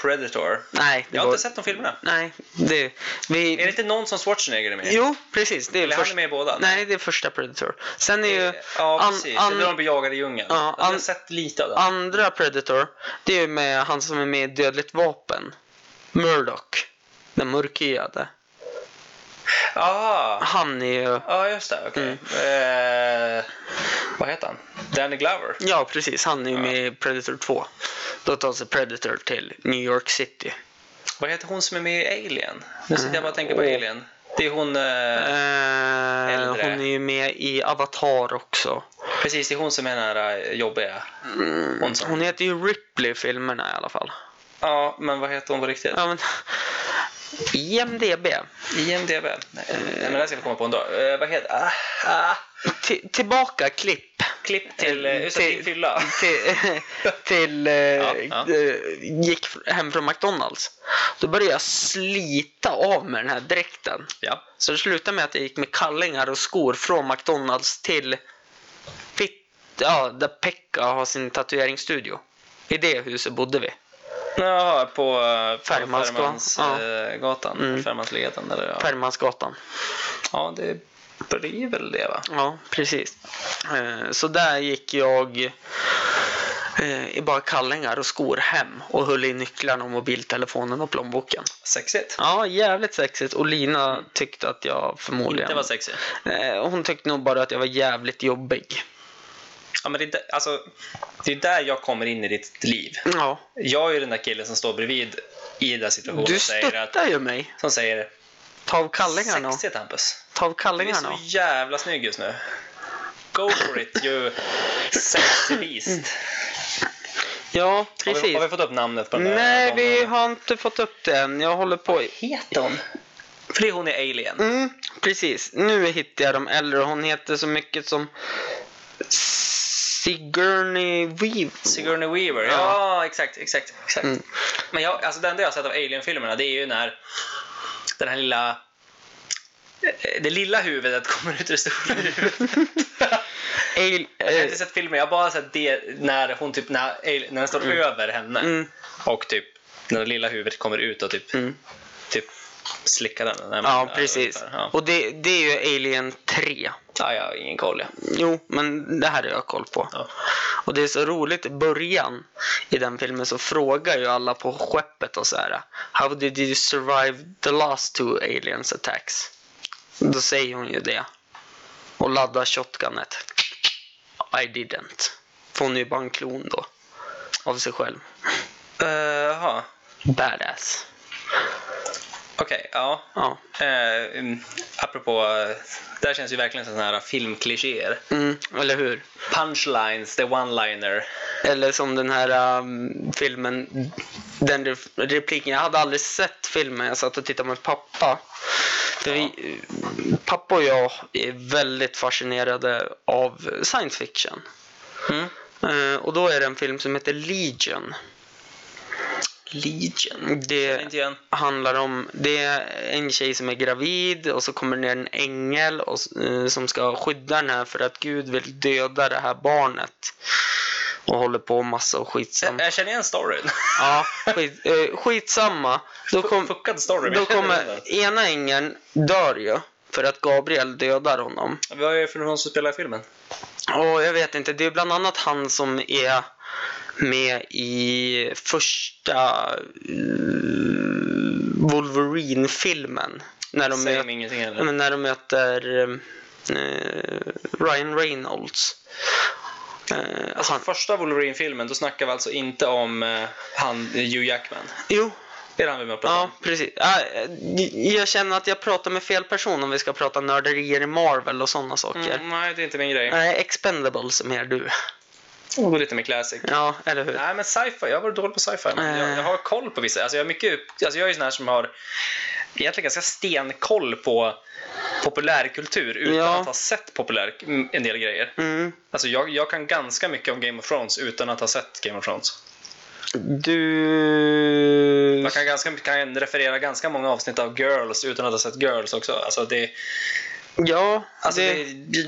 Predator.
Nej, det
Jag har
var...
inte sett de filmerna.
Nej, det... Vi...
Är det inte någon som Schwarzenegger är med?
Jo, precis. Det är
Eller han är med i båda? Eh,
Nej, det är första Predator. Sen är ju
Ja,
an-
precis.
an-
Det är när de blir jagade i djungeln.
Ja,
jag har
an-
sett lite av den.
andra Predator, det är ju med han som är med i Dödligt Vapen. Murdoch. Den mörkhyade.
Ah,
Han är ju...
ja, just det. Okej. Eh, vad heter han? Danny Glover?
Ja, precis. Han är ju med i Predator 2. Då tar sig Predator till New York City.
Vad heter hon som är med i Alien? Nu sitter jag bara och tänker på
Åh.
Alien. Det är hon...
Mm.
Eh,
Eh,
Äldre.
hon är ju med i Avatar också.
Precis, det är hon som är den här eh, jobbiga. Hon som...
Hon heter ju Ripley i filmerna i alla fall.
Ja, men vad heter hon på riktigt?
Ja, men... IMDB.
IMDB? Nej,
Eh.
nej, men det här ska vi komma på en dag. Eh, vad heter... Ah, ah.
Ti- tillbaka klipp.
Klipp till... Eh, just det,
Till-
till fylla.
[laughs] Till, till eh,
Ja, ja.
eh, gick hem från McDonalds. Då började jag slita av med den här dräkten.
[laughs] Ja.
Så det slutade med att jag gick med kallingar och skor från McDonalds till Fitt, ja, där Pekka har sin tatueringsstudio. I det huset bodde vi.
Jaha, på eh, på
Färgmansgatan.
Färgmansgatan.
Mm.
Färgmansleden eller ja.
Färmansgatan.
ja, det blir väl det va?
Ja, precis. Eh, Så där gick jag eh, i bara kallingar och skor hem och höll i nycklarna och mobiltelefonen och plånboken.
Sexigt.
Ja, jävligt sexigt. Och Lina tyckte att jag förmodligen...
Det var sexigt.
Eh, Hon tyckte nog bara att jag var jävligt jobbig.
Ja, men det, är där- alltså, det är där jag kommer in i ditt liv.
Ja,
Jag är ju den där killen som står bredvid i den där situationen
du
och säger att,
stöttar ju mig.
som säger
Ta av kallingarna. och-
sexigt Hampus.
Ta av
Du är
kallingarna.
så jävla snygg just nu. Go for it you sexy beast.
Ja,
Har vi,
Mm. precis.
har vi fått upp namnet på den där
Nej,
damen?
vi har inte fått upp det än. Jag håller på.
Heter hon? För det är hon i Alien.
Mm, precis. Nu hittar jag de äldre. Hon heter så mycket som Sigourney Weaver.
Sigourney Weaver, ja,
Ja.
exakt. exakt, exakt.
Mm.
Men jag, alltså det enda jag har sett av Alien-filmerna det är ju när den här lilla eh,
[laughs]
[laughs] det lilla huvudet kommer ut ur det stora huvudet.
Ale,
Jag har inte
eh,
sett filmen, jag har bara sett det när hon typ, när, Ale- när den står över henne.
mm,
Och typ, när det lilla huvudet kommer ut och typ,
mm.
typ slickar den. den
Ja,
där
precis.
ungefär. Ja.
Och det, det är ju Alien 3.
ja, jag har ingen koll. Ja.
Jo, men det här har jag koll på.
Ja.
Och det är så roligt, i början i den filmen så frågar ju alla på skeppet och så här. How did you survive the last two aliens attacks? Då säger hon ju det. Och laddar shotgunet. I didn't. För hon är ju bara en klon då. Av sig själv.
Eh, Jaha,
Badass.
okej. ja.
Ja.
Eh, mm, apropå, eh, det här känns ju verkligen som sådana här filmklichéer.
Mm, eller hur?
Punchlines, the one-liner.
Eller som den här um, filmen, den re- repliken. Jag hade aldrig sett filmen, jag satt och tittade med pappa. För vi, pappa och jag är väldigt fascinerade av science fiction.
Mm.
Eh, och då är det en film som heter Legion. Legion?
Känner
Det
Eh, Inte igen.
handlar om, det är en tjej som är gravid och så kommer det ner en ängel och, s- eh, som ska skydda den här för att Gud vill döda det här barnet. Och håller på massa och skitsam.
Eh, Jag, jag känner igen storyn.
Ja, skit, eh, skitsamma. Då, kom,
Fuckad story, men
då
jag känner igen
kommer
den.
ena ängeln dör ju för att Gabriel dödar honom.
Vi har ju för någon som spelar i filmen.
Och jag vet inte, det är bland annat han som är med i första eh, Wolverine-filmen. När de,
Säger
mö-
mig ingenting heller.
ja, men när de möter eh, Ryan Reynolds. Eh,
Alltså
han,
första Wolverine-filmen, då snackar vi alltså inte om eh, han, eh, Hugh Jackman.
jo,
Det är han vi med och pratar
Ja,
om.
precis. Ja, eh, Jag känner att jag pratar med fel person om vi ska prata nörderier i Marvel och sådana saker.
Mm, nej, det är inte min grej.
Nej, Expendables är mer du.
Jag går lite mer classic.
Ja, eller hur?
Nej, men sci-fi. Jag har varit dålig på sci-fi. Men jag,
Eh.
jag har koll på vissa. Alltså, jag, är mycket, upp- alltså, jag är ju sån här som har egentligen ganska stenkoll på populärkultur utan
Ja.
att ha sett populär, mm, en del grejer.
Mm.
Alltså, jag, jag kan ganska mycket om Game of Thrones utan att ha sett Game of Thrones.
Du...
Jag kan, ganska, kan referera ganska många avsnitt av Girls utan att ha sett Girls också. Alltså, det,
Ja,
alltså,
det,
det,
det,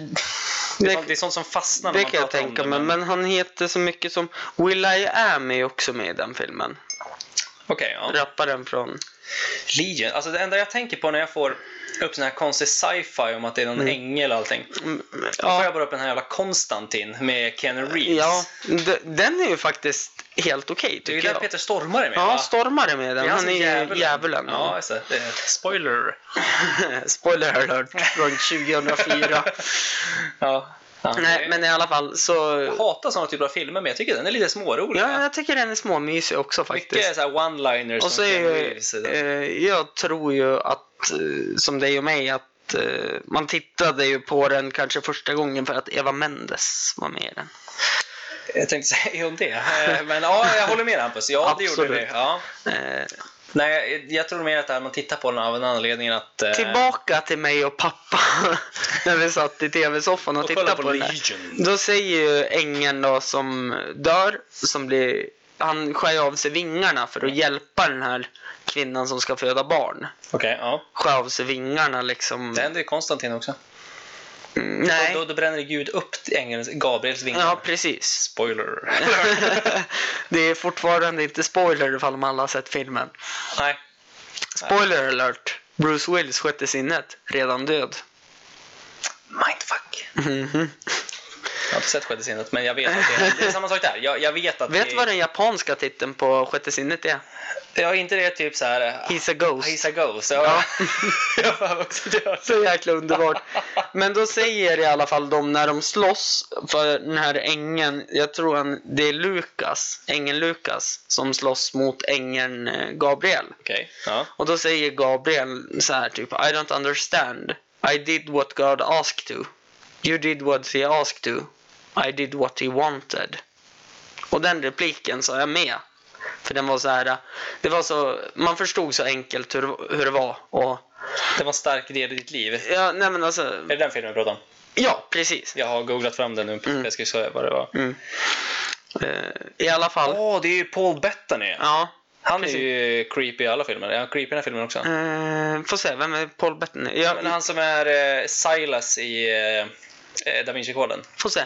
det, det, är sånt, det är sånt som fastnar när man
kan jag
pratar om
tänka
det,
mig. Men han heter så mycket som... Will I Am är ju också med i den filmen.
Okej, ja.
Rapparen från...
Legion. Alltså det enda jag tänker på när jag får upp sån här konstig sci-fi om att det är någon ängel och allting.
Mm,
Då får jag bara upp den här jävla Konstantin med Keanu Reeves.
Ja, d- den är ju faktiskt helt okej
det är ju
tycker
där
jag.
Peter Stormare är med
Ja,
va?
Stormare med
Det
den. Han
som
är ju djävulen.
Ja, just det. Eh, Spoiler.
[laughs] Spoiler alert från 2004.
[laughs] Ja. Ja,
Nej, men i alla fall så...
Jag hatar såna typer av filmer, men jag tycker den är lite smårolig.
Ja, jag tycker den är småmysig också
Mycket
faktiskt.
så här one-liners
Och så
från
är
Keanu
ju,
Reeves. i den.
eh, jag tror ju att, eh, som dig och mig, att eh, man tittade ju på den kanske första gången för att Eva Mendes var med i den.
Jag tänkte säga om det. Eh, Men ja, jag håller med Hampus. Ja, det gjorde
Absolut.
det. Ja.
Eh,
Nej, jag- jag tror mer att det här, man tittar på den av en anledning att... eh,
tillbaka till mig och pappa [laughs] när vi satt i tv-soffan och,
Och kolla
tittade
på
på, den här.
Legion.
Då säger ju ängeln då som dör, som blir, han skär ju av sig vingarna för att hjälpa den här kvinnan som ska föda barn.
Okej, ja.
Skär av sig vingarna liksom.
Det händer ju Konstantin också.
Mm,
Och Då,
Nej.
då bränner Gud upp ängelns, Gabriels vingar.
Ja, precis. [laughs]
Spoiler.
det är fortfarande inte spoiler ifall man alla har sett filmen.
Nej.
Spoiler alert! Bruce Willis, sjätte sinnet, redan död.
Mindfuck.
Mhm.
Jag har inte sett Sjätte sinnet, men jag vet att det är, det är samma sak där. Jag, jag vet att
Vet
det,
du vad den japanska titeln på sjätte sinnet är?
Ja, inte det typ så här...
He's a ghost.
He's a ghost. Ja.
Ja.
[laughs] jag har
[laughs]
också död.
Så jäkla underbart. Men då säger i alla fall de när de slåss för den här ängen. Jag tror han, det är Lukas, ängen Lukas, som slåss mot ängen eh, Gabriel.
Okej. Ja.
Och då säger Gabriel så här typ I don't understand. I did what God asked to. You did what he asked to. I did what he wanted. Och den repliken sa jag med. För den var så här, det var så, man förstod så enkelt hur, hur det var. Och,
Det var en stark del i ditt liv. Är
ja, nej men alltså,
det den filmen vi pratar om?
ja precis.
Jag har googlat fram den nu.
Mm.
Jag ska säga vad det var.
Mm. Eh, I alla fall,
Åh, det är ju Paul Bettany.
ja.
Han
precis.
är ju Mm. creepy i alla filmer. Är han creepy i den här filmen också?
Eh, får se, vem är Paul Bettany? Ja,
Men han som är eh, Silas i eh, eh, Da Vinci-koden.
Få se.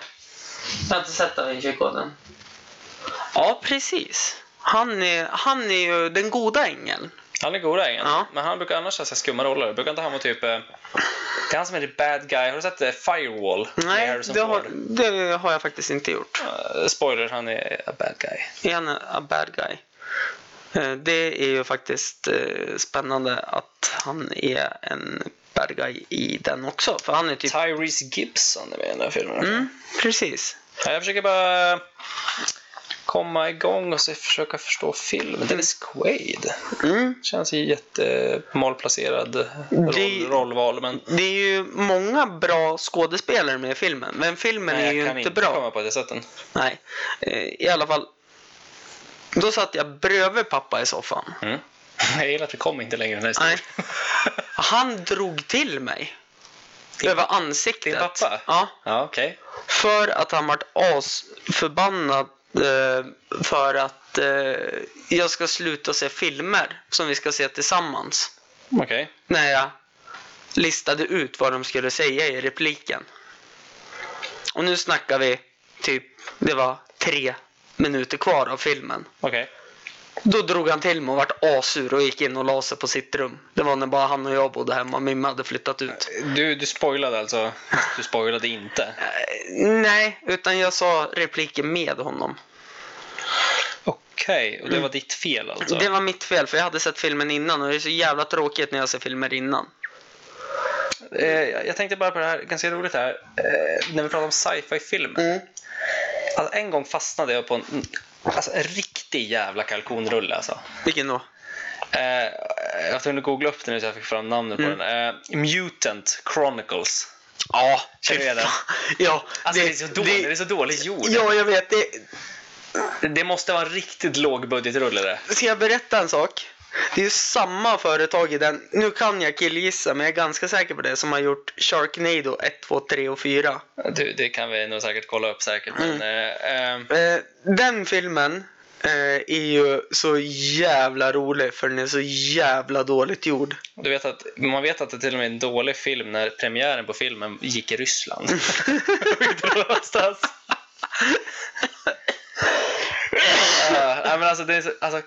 Jag har inte sett Da Vinci-koden. Ja, precis. Han är, han är ju den goda ängeln.
Han är goda ingen.
Ja.
Men han brukar annars ha så här skumma roller. Brukar inte han vara typ... eh, Det är han som är the bad guy. Har du sett eh, Firewall? Med
Nej,
Harrison
det har,
Ford?
det har jag faktiskt inte gjort.
Eh, Spoiler, han är a bad guy.
Är han a bad guy? Eh, Det är ju faktiskt eh, spännande att han är en bad guy i den också. För han är typ...
Tyrese Gibson är med i den här filmen.
Mm, precis.
Ja, Jag försöker bara komma igång och så försöka förstå filmen. Dennis Quaid.
Mm.
Känns ju jättemalplacerad
Det-
roll, rollval. Men
Det är ju många bra skådespelare med i filmen, men filmen är
Nej,
ju
jag
inte,
kan inte
bra.
komma på det sättet.
Nej, eh, i alla fall. Då satt jag bredvid pappa i soffan.
Mm. [laughs] Jag gillar att vi kom inte längre i den här
Nej.
historien.
Han drog till mig.
Din-
över ansiktet.
din pappa?
Ja.
[laughs] Ja, okej.
För att han vart asförbannad eh, för att eh, jag ska sluta se filmer som vi ska se tillsammans.
Okej.
När jag listade ut vad de skulle säga i repliken. Och nu snackar vi typ, det var tre minuter kvar av filmen.
Okej.
Då drog han till mig och vart asur och gick in och la sig på sitt rum. Det var när bara han och jag bodde hemma. Mimma hade flyttat ut.
Du, du spoilade alltså? Du spoilade inte?
Eh, Nej, utan jag sa repliker med honom.
Okej, och det var ditt fel alltså?
Mm. Det var mitt fel för jag hade sett filmen innan och det är så jävla tråkigt när jag ser filmer innan.
Eh, jag jag tänkte bara på det här, ganska roligt här. Eh, när vi pratar om sci-fi-filmer.
Mm.
Alltså, en gång fastnade jag på en, alltså, en riktig jävla kalkonrulle alltså.
Vilken då?
Eh, jag var tvungen att googla upp den nu så jag fick fram namnet
Mm.
på den. Eh, Mutant Chronicles.
Ja,
känner jag den.
Ja,
Alltså det, är så dåligt, det, är så dåligt gjort.
Ja, jag vet. Det,
Det måste vara en riktigt lågbudgetrulle det.
Ska jag berätta en sak? Det är ju samma företag i den, nu kan jag killgissa men jag är ganska säker på det, som har gjort Sharknado 1, 2, 3 och 4.
Du, det kan vi nog säkert kolla upp säkert. Men, eh, eh,
Eh, den filmen eh, är ju så jävla rolig för den är så jävla dåligt
[laughs]
gjord.
du vet att, man vet att det till och med är en dålig film när premiären på filmen gick i Ryssland. Inte [laughs] någonstans. Eh, nej, men alltså, det är så, alltså,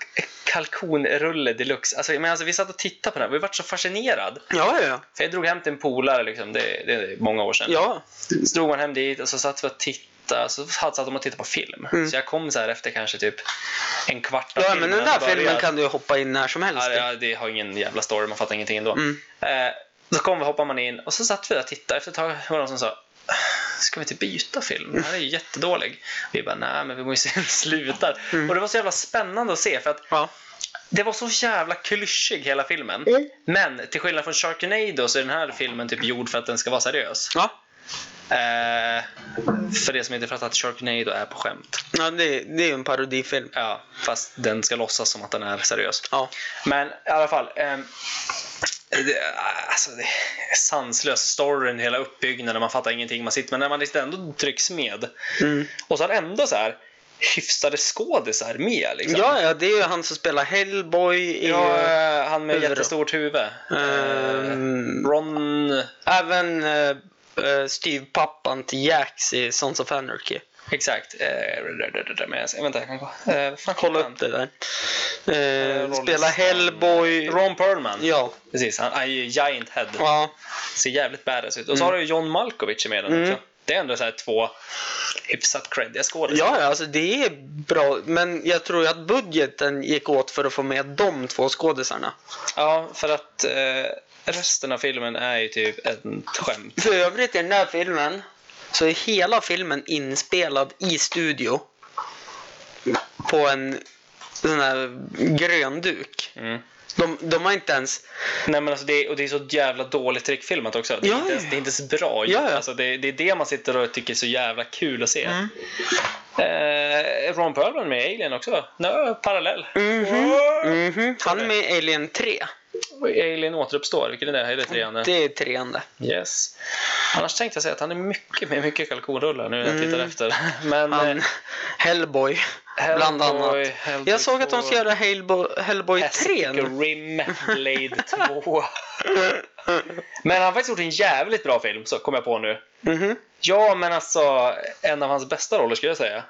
kalkonrulle deluxe. Alltså, men alltså, vi satt och tittade på den här. Vi vart så fascinerad.
Ja, ja,
För jag drog hem till en polare, liksom, det, det är många år sedan.
ja.
Så drog man hem dit och så satt vi och tittade. Så satt satt de och tittade på film. Så jag kom så här efter kanske typ en kvart av
Mm. Ja, men den där
hade
filmen
börjat.
kan du ju hoppa in när som helst.
Ja, ja, det har ingen jävla story, man fattar ingenting ändå.
Mm.
Eh, så kom vi, hoppade man in och så satt vi där och tittade. Efter ett tag var det någon som sa Ska vi inte byta film? Den här är ju jättedålig. Vi bara, nej men vi måste se [laughs] hur det slutar.
Mm.
Och det var så jävla spännande att se för att
Ja.
det var så jävla klyschig hela filmen.
Mm.
Men till skillnad från Sharknado så är den här filmen typ gjord för att den ska vara seriös.
Ja,
Eh, för det som inte fattat, Sharknado är på skämt.
ja det, det är ju en parodifilm.
Ja, fast den ska låtsas som att den är seriös.
Ja.
Men i alla fall. ehm, det, alltså, det är sanslös storyn, hela uppbyggnaden, man fattar ingenting. Man sitter, men när man liksom ändå trycks med.
Mm.
Och så har ändå så här hyfsade skådisar med. Liksom.
ja, ja, det är ju han som spelar Hellboy. är
Ja,
ju-
eh, han med
Huvud då.
jättestort huvud.
Ehm.
Eh, Ron...
Även eh, eh, styvpappan till Jax i Sons of Anarchy.
Exakt. Eh, där, där, där, där, men jag- vänta, jag kan gå. Eh, vad fan
Kolla
heter
upp det där.
Rolling
Eh, spela
Stone.
Hellboy.
han? eh, Ron Perlman.
Ja.
Precis, han han är ju Giant Head.
ja.
Ser jävligt badass ut. Och så har du ju John Malkovich med den
Mm.
också. Det är ändå så här två hyfsat creddiga skådisar.
Ja, ja, alltså det är bra. Men jag tror ju att budgeten gick åt för att få med de två skådisarna.
Ja, för att eh, resten av filmen är ju typ ett skämt.
För övrigt i den här filmen så är hela filmen inspelad i studio. På en sån här grön duk.
Mm.
De, de har inte ens...
Nej, men alltså det, är- och det är så jävla dåligt trickfilmat också. Det är,
Ja,
inte, ens,
ja.
det är inte så bra gjort.
Ja, Mm. ja.
Alltså det, det är det man sitter och tycker är så jävla kul att se. Eh, Ron Perlman med i Alien också. Nå, parallell.
Mhm.
Wow.
Mhm. Han är med i Alien 3.
Alien återuppstår. Vilken är det? Är det trean?
Det är treande.
Yes. Annars tänkte jag säga att han är mycket med mycket kalkonrullar nu när jag tittar efter. Men
Han,
eh,
Hellboy, bland
Hellboy,
annat.
Hellboy
Jag såg att de
2,
ska göra Hellboy, Hellboy 3 nu. [laughs]
Pacific Rim Blade 2. Men han har faktiskt gjort en jävligt bra film, så kom jag på nu.
Mhm.
Ja, men alltså en av hans bästa roller skulle jag säga.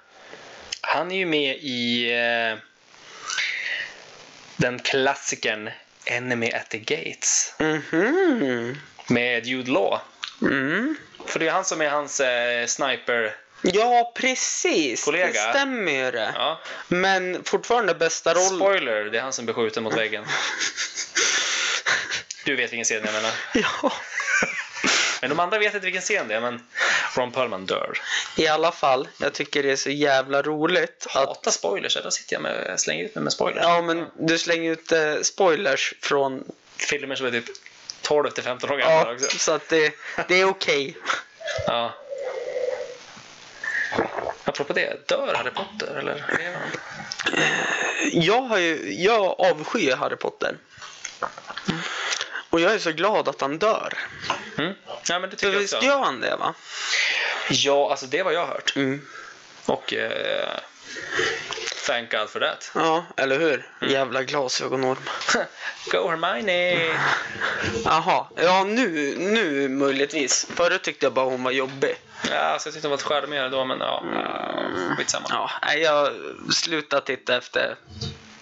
Han är ju med i eh, den klassikern Enemy at the Gates
Mhm.
med Jude Law.
Mm.
För det är han som är hans eh, sniper.
Ja, precis. Det
Kollega.
stämmer ju det.
Ja.
Men fortfarande bästa roll.
Spoiler, det är han som blir skjuten mot väggen. Du vet vilken scen jag menar.
[laughs] ja,
Men de andra vet inte vilken scen det är, men Ron Perlman dör.
i alla fall. Jag tycker det är så jävla roligt att
Hata spoilers, där sitter jag med, jag slänger ut mig med spoilers.
Ja, men du slänger ut eh, spoilers från...
Filmer som är typ 12 till 15 år gamla
Ja,
också.
så att det, det är okej.
Ja. Apropå det, dör Harry Potter eller lever han?
Jag, har ju, jag avskyr Harry Potter. Och jag är så glad att han dör.
Mm. Ja, men det
För
tycker jag
visst
också.
gör han det, va?
Ja, alltså det är vad jag har hört.
Mm.
Och eh, thank God for that. [laughs]
Ja, eller hur? Jävla glasögonorm.
Go Hermione!
Jaha, ja nu, nu möjligtvis. Förut tyckte jag bara hon var jobbig.
Ja, alltså, jag tyckte hon var charmigare då, men ja. Mm. Skitsamma.
Ja, nej, jag slutade titta efter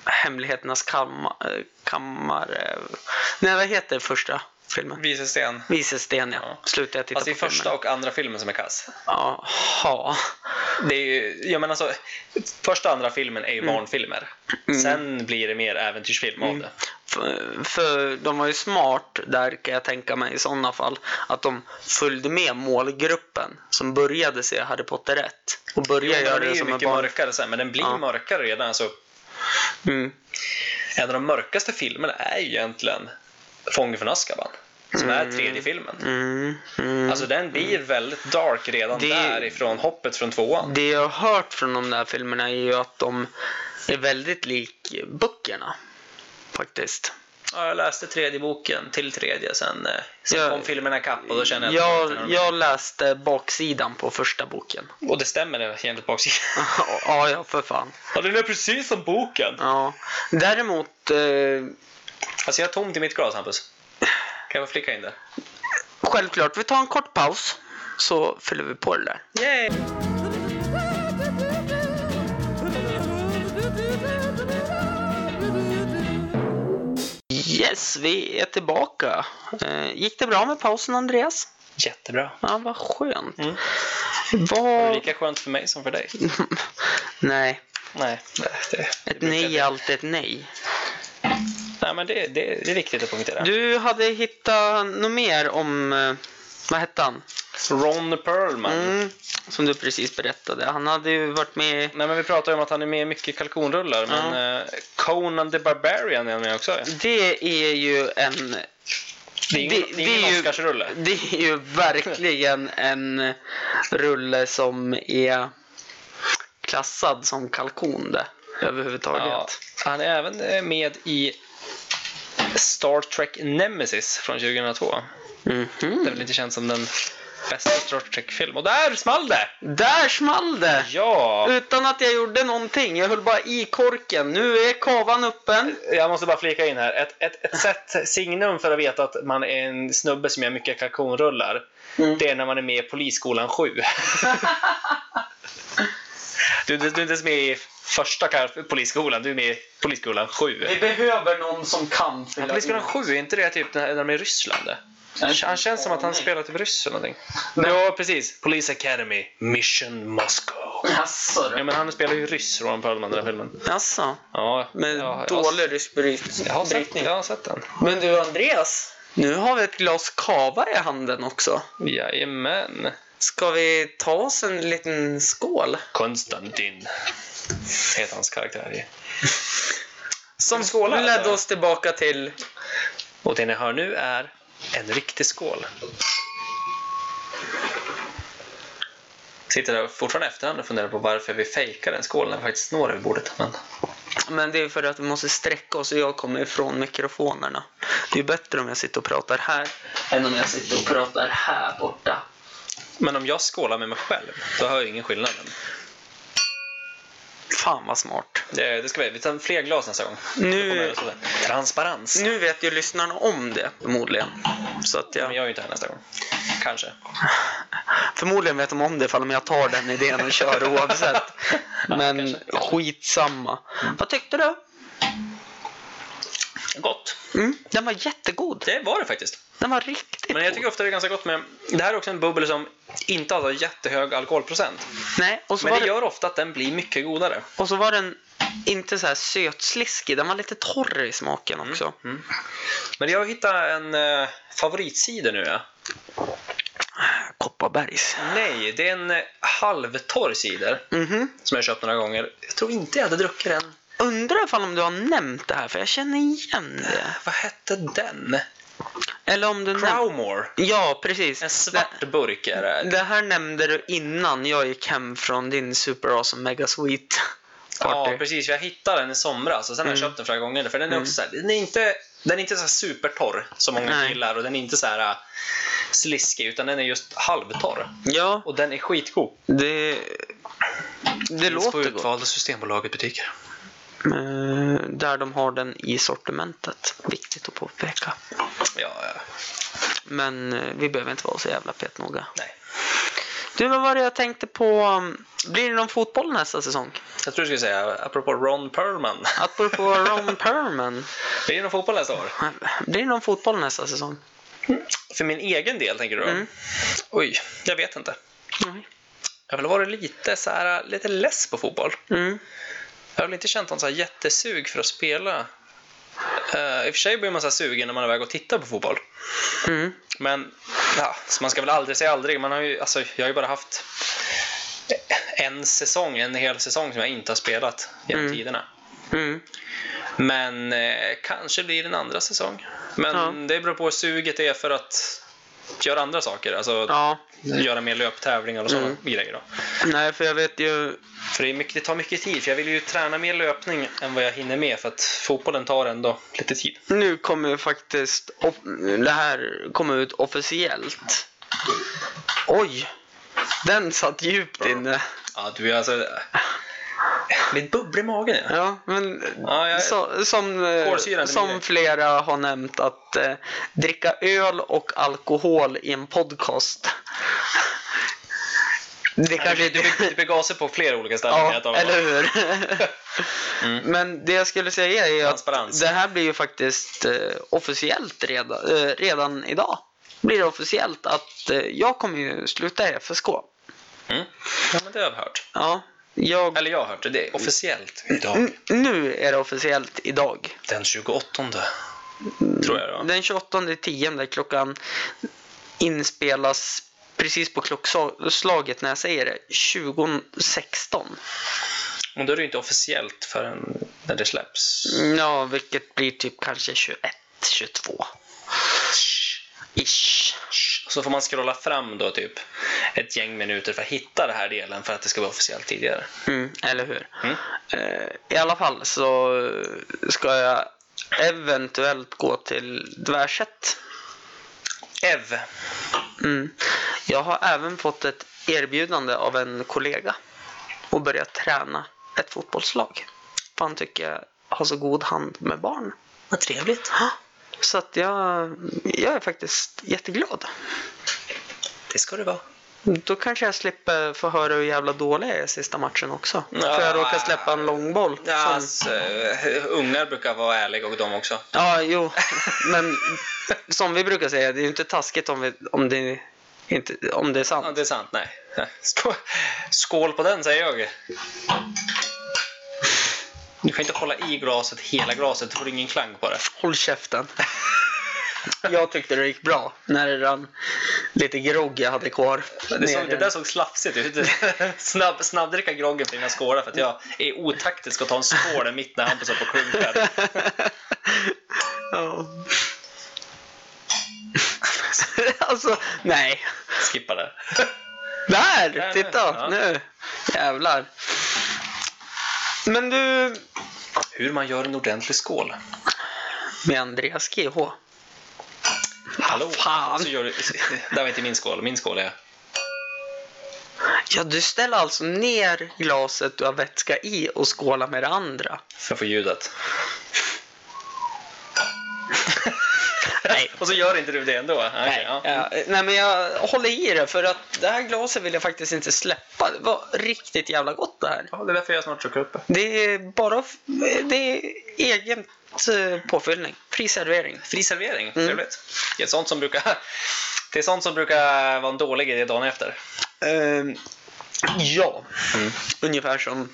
Hemligheternas kammare. kammare. Nej, vad heter första filmen?
Visesten.
Visesten ja.
Ja.
Slutade jag titta
Alltså i
på filmen.
första och andra filmen som är kass.
Jaha.
Det är ju, jag menar alltså, första och andra filmen är ju
Mm.
barnfilmer. Sen blir det mer äventyrsfilm av det.
För, för de var ju smart där kan jag tänka mig i sådana fall. Att de följde med målgruppen som började se Harry Potter 1. Och började
Jo,
göra
men den
det
är ju
som en
mycket
barn.
mörkare sen, men den blir
Ja.
mörkare redan. Alltså,
Mm.
en av de mörkaste filmerna är ju egentligen Fången från Azkaban. Som är tredje filmen.
Mm. Mm.
Alltså den blir väldigt dark redan
Det-
därifrån hoppet från tvåan.
Det jag har hört från de där filmerna är ju att de är väldigt lik böckerna. Faktiskt.
Ja, jag läste tredje boken till tredje sen, eh, sen
Ja.
kom filmerna ikapp och då kände jag att det var
Jag,
inte
jag läste baksidan på första boken. [laughs]
någon- Och det stämmer det jämligt baksidan. [laughs]
ja, ja, för fan.
Ja, den är precis som boken!
Ja. Däremot, eh,
Alltså jag är tom till mitt glas Hampus. Kan jag få flicka in det?
självklart, vi tar en kort paus så fyller vi på det där.
Yay!
Yes, vi är tillbaka. Eh, gick det bra med pausen Andreas?
Jättebra.
Ja, vad skönt.
Mm. Det är
Vad...
lika skönt för mig som för dig.
[laughs] Nej,
Nej, det,
ett nej är alltid ett nej.
nej men det, det, det är viktigt att poängtera.
Du hade hittat något mer om, eh, vad hette han?
Ron Perlman.
Mm, som du precis berättade. Han hade ju varit med i-
Nej, men vi pratar ju om att han är med i mycket kalkonrullar, men eh, Conan the Barbarian är han med också.
Det är ju en...
Det är ingen, det, är ingen
ju-
Oscarsrulle.
Det är ju verkligen en rulle som är klassad som kalkon det. Överhuvudtaget.
Ja, han är även eh, med i Star Trek Nemesis från 2002.
Mhm.
Det är väl inte känt som den bästa Star Trek-film. Och där small det!
Där small det!
Ja!
Utan att jag gjorde någonting. Jag höll bara i korken. Nu är kavan öppen.
Jag måste bara flika in här. Ett, ett, ett sätt, signum för att veta att man är en snubbe som gör mycket kalkonrullar,
Mm.
det är när man är med i
[laughs]
Polisskolan 7. du, du, du är inte ens med i första kar- Polisskolan, du är med i Polisskolan 7.
behöver någon som kan fylla
Polisskolan 7, är inte det typ när när de är i Ryssland? det? Han, han känns som att han spelar typ ryss eller någonting. Ja, precis. Police Academy, Mission Moscow.
Jaså
Ja,
du?
men han spelar ju ryss, Roman Perlman, i den här filmen.
Jaså?
Ja,
Med
ja, jag har-
dålig rysk bryt-
Jag har, sett,
brytning.
jag har sett den.
Men du Andreas, nu har vi ett glas kava i handen också.
Jajamän.
Ska vi ta oss en liten skål?
Konstantin heter hans karaktär i.
Som
skålar,
ledde
eller?
oss tillbaka till...
Och det ni hör nu är en riktig skål. Sitter där fortfarande i efterhand och funderar på varför vi fejkar en skål när vi faktiskt når över bordet. Men
Men det är för att vi måste sträcka oss och jag kommer ifrån mikrofonerna. Det är bättre om jag sitter och pratar här än om jag sitter och pratar här borta.
Men om jag skålar med mig själv, då hör jag ingen skillnad.
Fan vad smart.
Det, det ska vi. Vi tar fler glas nästa gång. Då kommer
Nu,
jag att stå där. Transparens.
nu vet ju lyssnarna om det förmodligen. Så att
Men
jag,
jag är ju inte här nästa gång. Kanske.
förmodligen vet de om det ifall jag tar den idén och kör oavsett. Men skitsamma. Vad tyckte du?
Gott.
Mm, den var jättegod.
Det var det faktiskt.
Den var riktigt
Men jag
god.
tycker ofta det är ganska gott med... Det här är också en bubbel som inte alls har jättehög alkoholprocent.
Nej, och så,
Men
var
det
den,
gör ofta att den blir mycket godare.
och så var den inte så här sötsliskig. Den var lite torr i smaken
Mm.
också.
Men jag hittar en eh, favoritsida nu. Ja.
Kopparbergs.
Nej, det är en eh, halvtorr cider
Mhm.
som jag köpt några gånger. Jag tror inte jag hade druckit den.
Undrar ifall om du har nämnt det här för jag känner igen det.
Vad hette den?
Eller om du näm-
Crowmore.
Ja, precis.
En svart burk är
Det,
det.
det här nämnde du innan jag gick hem från din super awesome mega sweet party.
Ja, precis. Jag hittade den i somras och sen har jag
Mm.
köpt den flera gånger. För den är också så här, den är inte, den är inte så här supertorr som många
Nej.
gillar och den är inte så här äh, sliskig utan den är just halvtorr.
ja,
Och den är skitgod.
det, det
Finns på
låter gott.
utvalda Systembolaget butiker.
Eh, Där de har den i sortimentet. Viktigt att påpeka.
Ja, ja.
Men eh, vi behöver inte vara så jävla petnoga.
nej.
Du, vad var det jag tänkte på? um, Blir det någon fotboll nästa säsong?
Jag tror du skulle säga, apropå Ron Perlman.
Apropå Ron Perman.
Blir [laughs] det någon fotboll nästa år?
Blir det någon fotboll nästa säsong?
För min egen del tänker du då?
Mm.
Oj, jag vet inte.
Nej.
Jag har väl varit lite så här, lite less på fotboll.
Mm.
Jag har väl inte känt någon så här jättesug för att spela. Eh, I och för sig blir man så här sugen när man är iväg och tittar på fotboll.
Mm.
Men ja, så man ska väl aldrig säga aldrig. Man har ju, alltså, jag har ju bara haft en säsong, en hel säsong som jag inte har spelat genom
Mm.
tiderna.
Mm.
Men eh, kanske blir det en andra säsong. Men
Ja.
det beror på hur suget är för att göra andra saker. Alltså
Ja. Mm.
göra mer löptävlingar och sådana grejer. Då.
Nej, för jag vet ju.
För det, är mycket, det tar mycket tid, för jag vill ju träna mer löpning än vad jag hinner med. För att fotbollen tar ändå lite tid.
Nu kommer ju faktiskt off- det här kommer ut officiellt. Oj! Den satt djupt inne.
Ja, du är alltså...
Ah.
Mitt bubblar i magen. Ja.
Ja, men
Ja, jag-
så, som, eh,
Kolsyran är min grej.
som flera har nämnt att eh, dricka öl och alkohol i en podcast. Det kanske
Du,
inte...
du, du begav sig på flera olika ställen. kan
Ja,
jag tala om.
eller hur?
[laughs]
Men det jag skulle säga är ju
Mm. Transparens.
att det här blir ju faktiskt eh, officiellt redan, eh, redan idag. Blir det officiellt att eh, jag kommer ju sluta i FSK.
Mm. Ja, men det har jag hört.
Ja, jag...
Eller jag har hört det. Det är officiellt idag.
N- nu är det officiellt idag.
Den 28. Tror jag då.
Den 28 tionde klockan inspelas precis på klockslaget när jag säger det. 2016.
Och då är det ju inte officiellt förrän när det släpps.
Ja, vilket blir typ kanske 21, 22. Ish.
Så får man scrolla fram då typ ett gäng minuter för att hitta den här delen för att det ska vara officiellt tidigare.
Mm, eller hur?
Mm.
Eh, I alla fall så eh, ska jag eventuellt gå till Dvärset.
Ev.
Mm. Jag har även fått ett erbjudande av en kollega och börja träna ett fotbollslag. För han tycker jag har så god hand med barn.
Vad trevligt.
Så att jag, jag är faktiskt jätteglad.
Det ska det vara.
Då kanske jag slipper få höra hur jävla dålig jag är i sista matchen också. För jag
Ja.
råkar släppa en långboll.
Ja,
som-
alltså, eh, ungar brukar vara ärliga och de också.
Ja, jo. Men som vi brukar säga, det är ju inte taskigt om, vi, om, det, inte, om det är
Ja,
sant.
det är sant. Nej. Skå- Skål på den säger jag. Du kan inte hålla i glaset hela glaset, du får ingen klang på det.
Håll
[laughs]
käften. Jag tyckte det gick bra när det rann lite grogg jag hade kvar.
Det, såg,
ner
det
i
där
den.
såg slafsigt ut. Snabb, snabbdricka groggen för dina skålar för att jag är otaktisk och tar en skål mitt när Hampus håller på och klunkar.
[laughs] Ja. alltså, nej.
Skippa det.
Där!
Där,
Titta!
ja.
Nu! Jävlar. Men du,
Hur man gör en ordentlig skål.
med Andreas GH.
Hallå!
Fan.
Så gör du, det där var inte min skål. Min skål är...
Ja, du ställer alltså ner glaset du har vätska i och skålar med det andra.
För att få ljudet.
Nej.
Och så gör inte du det ändå? Okej,
Nej,
ja.
ja, nej, men jag håller i det för att det här glaset vill jag faktiskt inte släppa. Det var riktigt jävla gott det här.
Ja, det är därför jag snart ska uppe.
Det är bara f- det är egen eh, påfyllning. Fri servering.
Fri servering, trevligt. Det är, sånt som brukar, [laughs] det är sånt som brukar vara en dålig idé dagen efter.
Ehm, ja, ungefär som...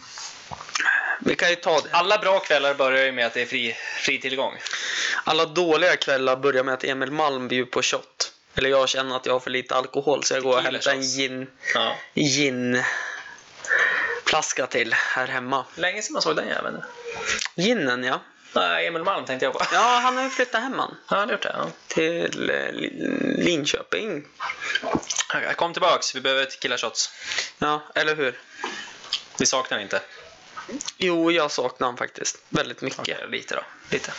Vi kan ju ta det.
Alla bra kvällar börjar ju med att det är fri, fri tillgång.
Alla dåliga kvällar börjar med att Emil Malm bjuder på shot. Eller jag känner att jag har för lite alkohol så jag går och
Gillar
hämtar en
shots.
gin,
Ja.
ginflaska till här hemma.
Länge sedan man såg den jäveln.
Ginen ja.
Nej, Emil Malm tänkte jag på. Ja,
Ja, han har ju flyttat hem han.
han har gjort det. Ja.
Till eh, Li- Linköping.
Okej, Kom tillbaks, vi behöver tequila shots.
Ja, eller hur?
Vi saknar inte.
Jo, jag saknar honom faktiskt. Väldigt mycket.
Okej, lite då. Lite.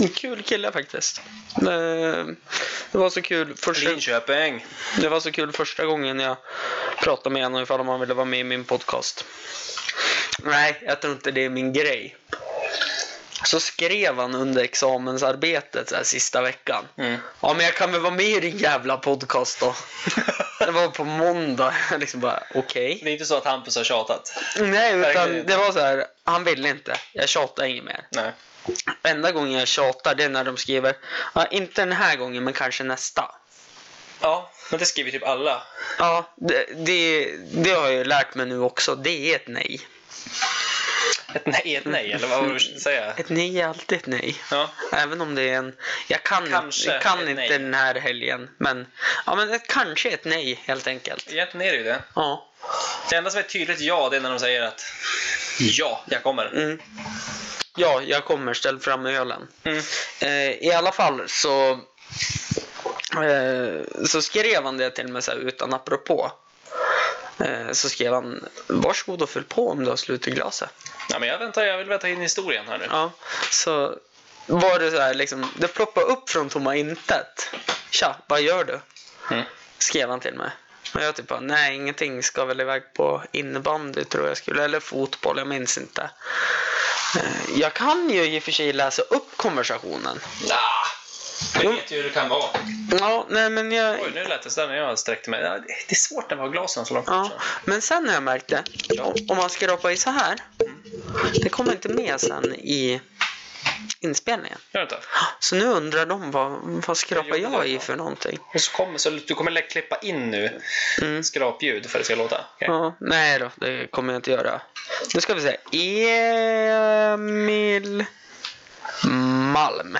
En kul kille faktiskt. Eh, Det var så kul första,
Linköping.
det var så kul första gången jag pratade med honom ifall han ville vara med i min podcast. Nej, jag tror inte det är min grej. Så skrev han under examensarbetet så här, sista veckan.
Mm.
Ja, men jag kan väl vara med i din jävla podcast [laughs] då. Det var på måndag. Jag liksom bara, okej.
det är inte så att Hampus har tjatat.
Nej, utan
Verkligen.
det var så här. Han ville inte. Jag tjatade inget mer.
Nej.
Enda gången jag tjatar det är när de skriver ja, inte den här gången men kanske nästa.
Ja, men det skriver typ alla.
Ja, det, det, det har jag ju lärt mig nu också. Det är ett nej.
Ett nej, ett nej eller vad var det du försökte säga?
Ett nej är alltid ett nej.
Ja.
Även om det är en... Jag kan,
Kanske
jag kan
ett
inte
nej.
den här helgen. Men, ja, men ett, kanske ett nej helt enkelt.
Egentligen är det ju det.
Ja.
Det enda som är ett tydligt ja, det är när de säger att ja, jag kommer.
Mm. Ja, jag kommer. Ställ fram ölen.
Mm.
Eh, I alla fall så, eh, så skrev han det till mig så här, utan apropå. Eh, så skrev han varsågod och fyll på om du har slut i glaset.
Ja, men jag, väntar, jag vill veta in historien här nu.
Ja, så var det så här liksom, det ploppade upp från tomma intet. Tja, vad gör du?
Mm.
Skrev han till mig. Och jag typ bara, nej ingenting ska väl iväg på innebandy tror jag skulle, eller fotboll, jag minns inte. Eh, Jag kan ju i och för sig läsa upp konversationen.
Nah, jag vet ju hur det kan vara.
Ja, nej men jag,
Oj, nu lät det sådär när jag sträckte mig. Ja, Det är svårt när vi har glasen så långt
Ja,
bort.
men sen har jag märkt det. Om- Om man skrapar i så här. Det kommer inte med sen i inspelningen.
Gör det inte?
Så nu undrar de vad, vad skrapar
Jag gjorde
jag
det,
i
ja.
för någonting.
Och så kommer, så du kommer lä- klippa in nu
Mm.
skrapljud för att det ska låta. Okej.
Ja, nej då, det kommer jag inte göra. Nu ska vi se. Emil Malm.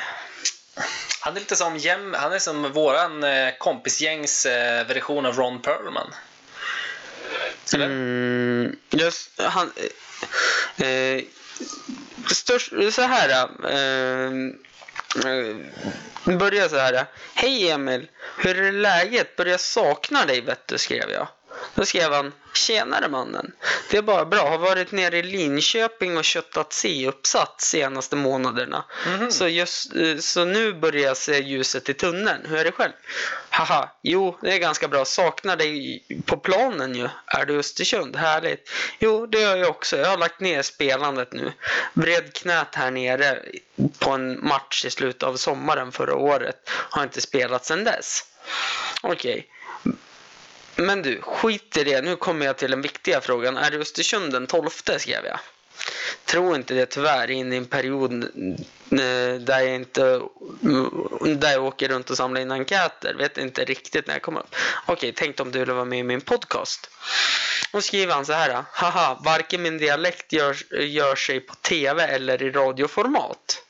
Han är lite som, jäm, han är som våran eh, kompisgängs eh, version av Ron Perlman. Eller?
Mm, just, han, eh, eh, störst, så här. Eh, eh, börjar så här. Hej Emil, hur är läget? Börjar sakna dig vet du, skrev jag. Då skrev han, tjenare mannen. Det är bara bra, har varit nere i Linköping och köttat C-uppsats senaste månaderna. Så, just, eh, så nu börjar jag se ljuset i tunneln. Hur är det själv? Haha, jo det är ganska bra. Saknar dig på planen ju. Är du i Östersund? Härligt. Jo det gör jag också. Jag har lagt ner spelandet nu. Vred knät här nere på en match i slutet av sommaren förra året. Har inte spelat sedan dess. Okej. Men du, skit i det. Nu kommer jag till den viktiga frågan. Är du Östersund den 12 skrev jag. Tror inte det tyvärr in i en period eh, där jag inte där jag åker runt och samlar in enkäter. Vet inte riktigt när jag kommer upp. Okej, tänk om du ville vara med i min podcast. Och skriver han så här. Haha, varken min dialekt gör, gör sig på tv eller i radioformat.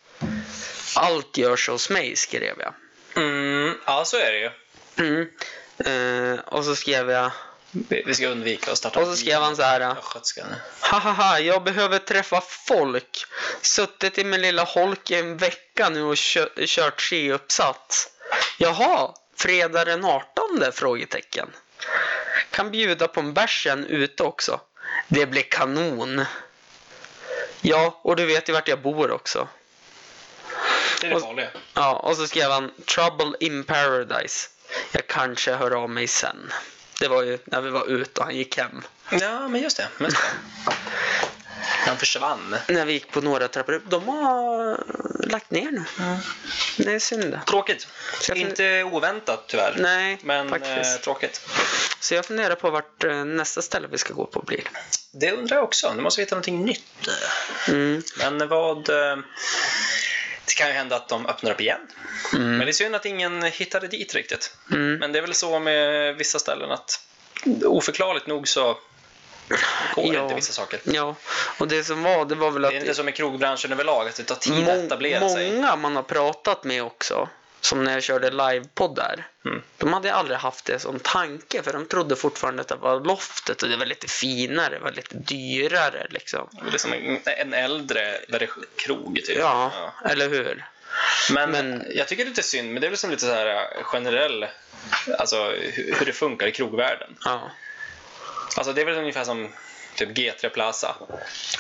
Allt görs hos mig skrev jag.
Mm, ja, så är det ju.
Mm. Eh, och så skrev jag.
Vi, vi ska undvika att starta
Och så skrev han så här.
Östgötska nu.
Hahaha, jag behöver träffa folk. Suttit i min lilla holk i en vecka nu och kö- kört C-uppsats. Jaha, fredag den 18? Frågetecken. Kan bjuda på en bärs sen ute också. Det blir kanon. Ja, och du vet ju vart jag bor också.
Det är det
Och-
farliga.
Ja, och så skrev han Trouble in paradise. Jag kanske hör av mig sen. Det var ju när vi var ute och han gick hem.
Ja, men just det.
[laughs]
Just det. Han försvann.
När vi gick på några trappor upp. De har lagt ner nu. Det är synd. det.
Tråkigt.
Så jag får-
Inte oväntat tyvärr.
Nej,
men eh,
faktiskt.
tråkigt.
Så jag funderar på vart eh, nästa ställe vi ska gå på blir.
Det undrar jag också. Nu måste vi hitta någonting nytt.
Mm.
Men vad... eh, Det kan ju hända att de öppnar upp igen. Men det är synd att ingen hittade dit riktigt.
Mm.
Men det är väl så med vissa ställen att oförklarligt nog så går
Ja. Mm.
inte vissa saker.
Ja, och det som var, det var väl att
Det är inte som i krogbranschen överlag, att det tar tid att etablera
må-
sig.
många man har pratat med också, som när jag körde livepodd där,
Mm.
de hade aldrig haft det som tanke för de trodde fortfarande att det var loftet och det var lite finare, det var lite dyrare liksom.
Det är som en- en äldre version- krog typ.
Ja,
Ja.
eller hur?
Men,
Men-
jag tycker det är lite synd, men det är väl som lite så här eh, generell, alltså hur hur det funkar i krogvärlden.
Ja.
Alltså det är väl ungefär som typ G3 Plaza.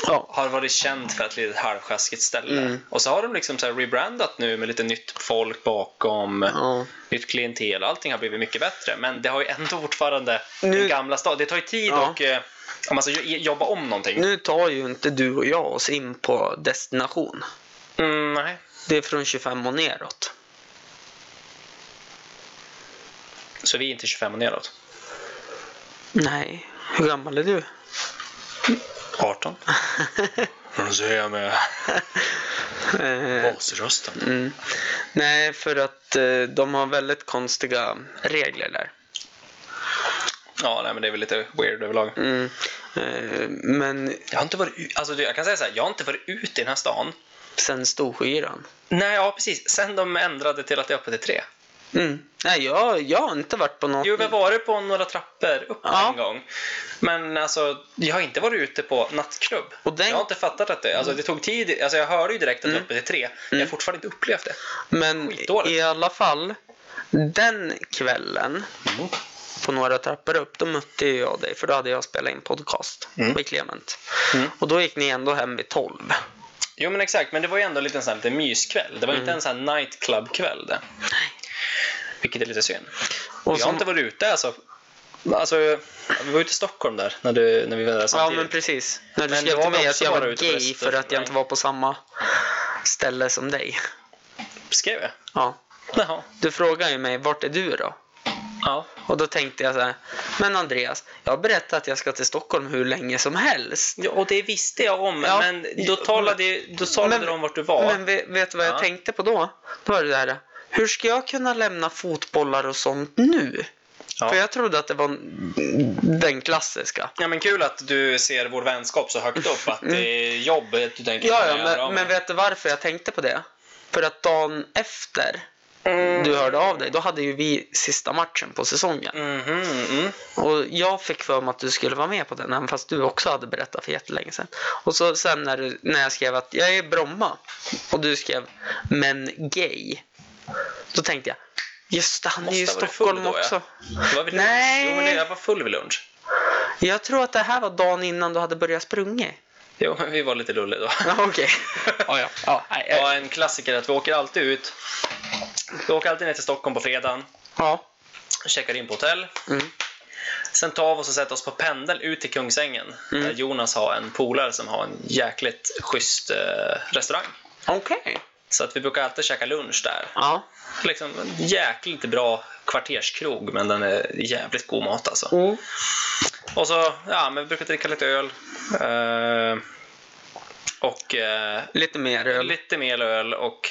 ja.
Har varit känt för ett litet halvsjaskigt ställe.
Mm.
Och så har de liksom så här rebrandat nu med lite nytt folk bakom,
ja.
nytt klientel. Allting har blivit mycket bättre. Men det har ju ändå fortfarande
Nu-
den gamla staden. Det tar ju tid
Ja.
och eh, om man ska jo- jobba om någonting.
Nu tar ju inte du och jag oss in på destination.
Mm, nej.
Det är från 25 och neråt.
Så vi är inte 25 och neråt.
Nej, hur gammal är du?
18. Så är jag med
Eh,
basrösten.
Mm. Nej, för att eh, de har väldigt konstiga regler där.
Ja, nej, men det är väl lite weird överlag.
Mm. Eh, men
Jag har inte varit ut, alltså, jag kan säga så här, jag har inte varit ute i den här stan.
sen Storskyran.
Nej, ja precis. Sen de ändrade till att det är öppet till tre.
Mm. Nej, jag, jag har inte varit på något.
Jo, vi har varit på några trappor upp
Ja.
en gång. Men alltså, jag har inte varit ute på nattklubb.
Och den- Mm.
Jag har inte fattat att det, alltså, det tog tid. Alltså, jag hörde ju direkt att det är öppet till tre. Men jag har fortfarande inte upplevt det.
Men
Skitdåligt.
i alla fall, den kvällen
Mm.
på några trappor upp, då mötte ju jag dig. För då hade jag spelat in podcast
Mm.
med Clement.
Mm.
Och då gick ni ändå hem vid 12.
Jo, men exakt. Men det var ju ändå en liten sån här, lite myskväll. Det var
Mm.
inte en sån här nightclub-kväll. det. Vilket är lite synd.
Och
jag har
som-
inte varit ute alltså. Alltså, vi var ute i Stockholm där när, du, när vi var där
Ja,
samtidigt.
men precis. När du
Men
skrev
då
till
var vi
mig att
också
jag
bara
var
ute på
gay för att jag
restaurang.
inte var på samma ställe som dig.
Skrev jag?
Ja.
Jaha.
Du frågar ju mig, vart är du då?
Ja.
Och då tänkte jag så här, men Andreas, jag har berättat att jag ska till Stockholm hur länge som helst.
Ja, och det visste jag om,
Ja.
men då talade, då talade
Men-
de om vart du var.
Men ve- vet du vad jag
Ja.
tänkte på då? Då var det där, hur ska jag kunna lämna fotbollar och sånt nu?
ja.
För jag trodde att det var den klassiska.
ja, men kul att du ser vår vänskap så högt upp, att det är jobb du tänker
Mm. Ja,
kunna
ja,
göra av
men, men
med.
vet du varför jag tänkte på det? För att dagen efter du hörde av dig, då hade ju vi sista matchen på säsongen.
Mhm, mm.
Och jag fick för mig att du skulle vara med på den, även fast du också hade berättat för jättelänge sedan. Och så sen när, du, när jag skrev att jag är i Bromma och du skrev men gay. Då tänkte jag, just det, han är
Måste
ju i
ha varit
Stockholm
full då, ja.
också.
Det var vid lunch.
Nej.
Jo, men det, jag var full vid lunch.
Jag tror att det här var dagen innan du hade börjat springa.
Jo, [laughs] men vi var lite lulliga då.
Ja,
[laughs]
Okej. [laughs] Ja, ja. Ja, nej,
Ja,
jag-
en klassiker är att vi åker alltid ut. Vi åker alltid ner till Stockholm på fredagen,
ja.
checkar in på hotell.
Mm.
Sen tar vi oss och sätter oss på pendeln ut till Kungsängen.
Mm.
Där Jonas har en polare som har en jäkligt schysst eh, restaurang.
Okej.
Så att vi brukar alltid käka lunch där.
Ja.
Liksom en jäkligt bra kvarterskrog, men den är jävligt god mat alltså.
Mm.
Och så, ja, men vi brukar dricka lite öl. Eh, och eh,
Lite mer öl.
lite mer öl och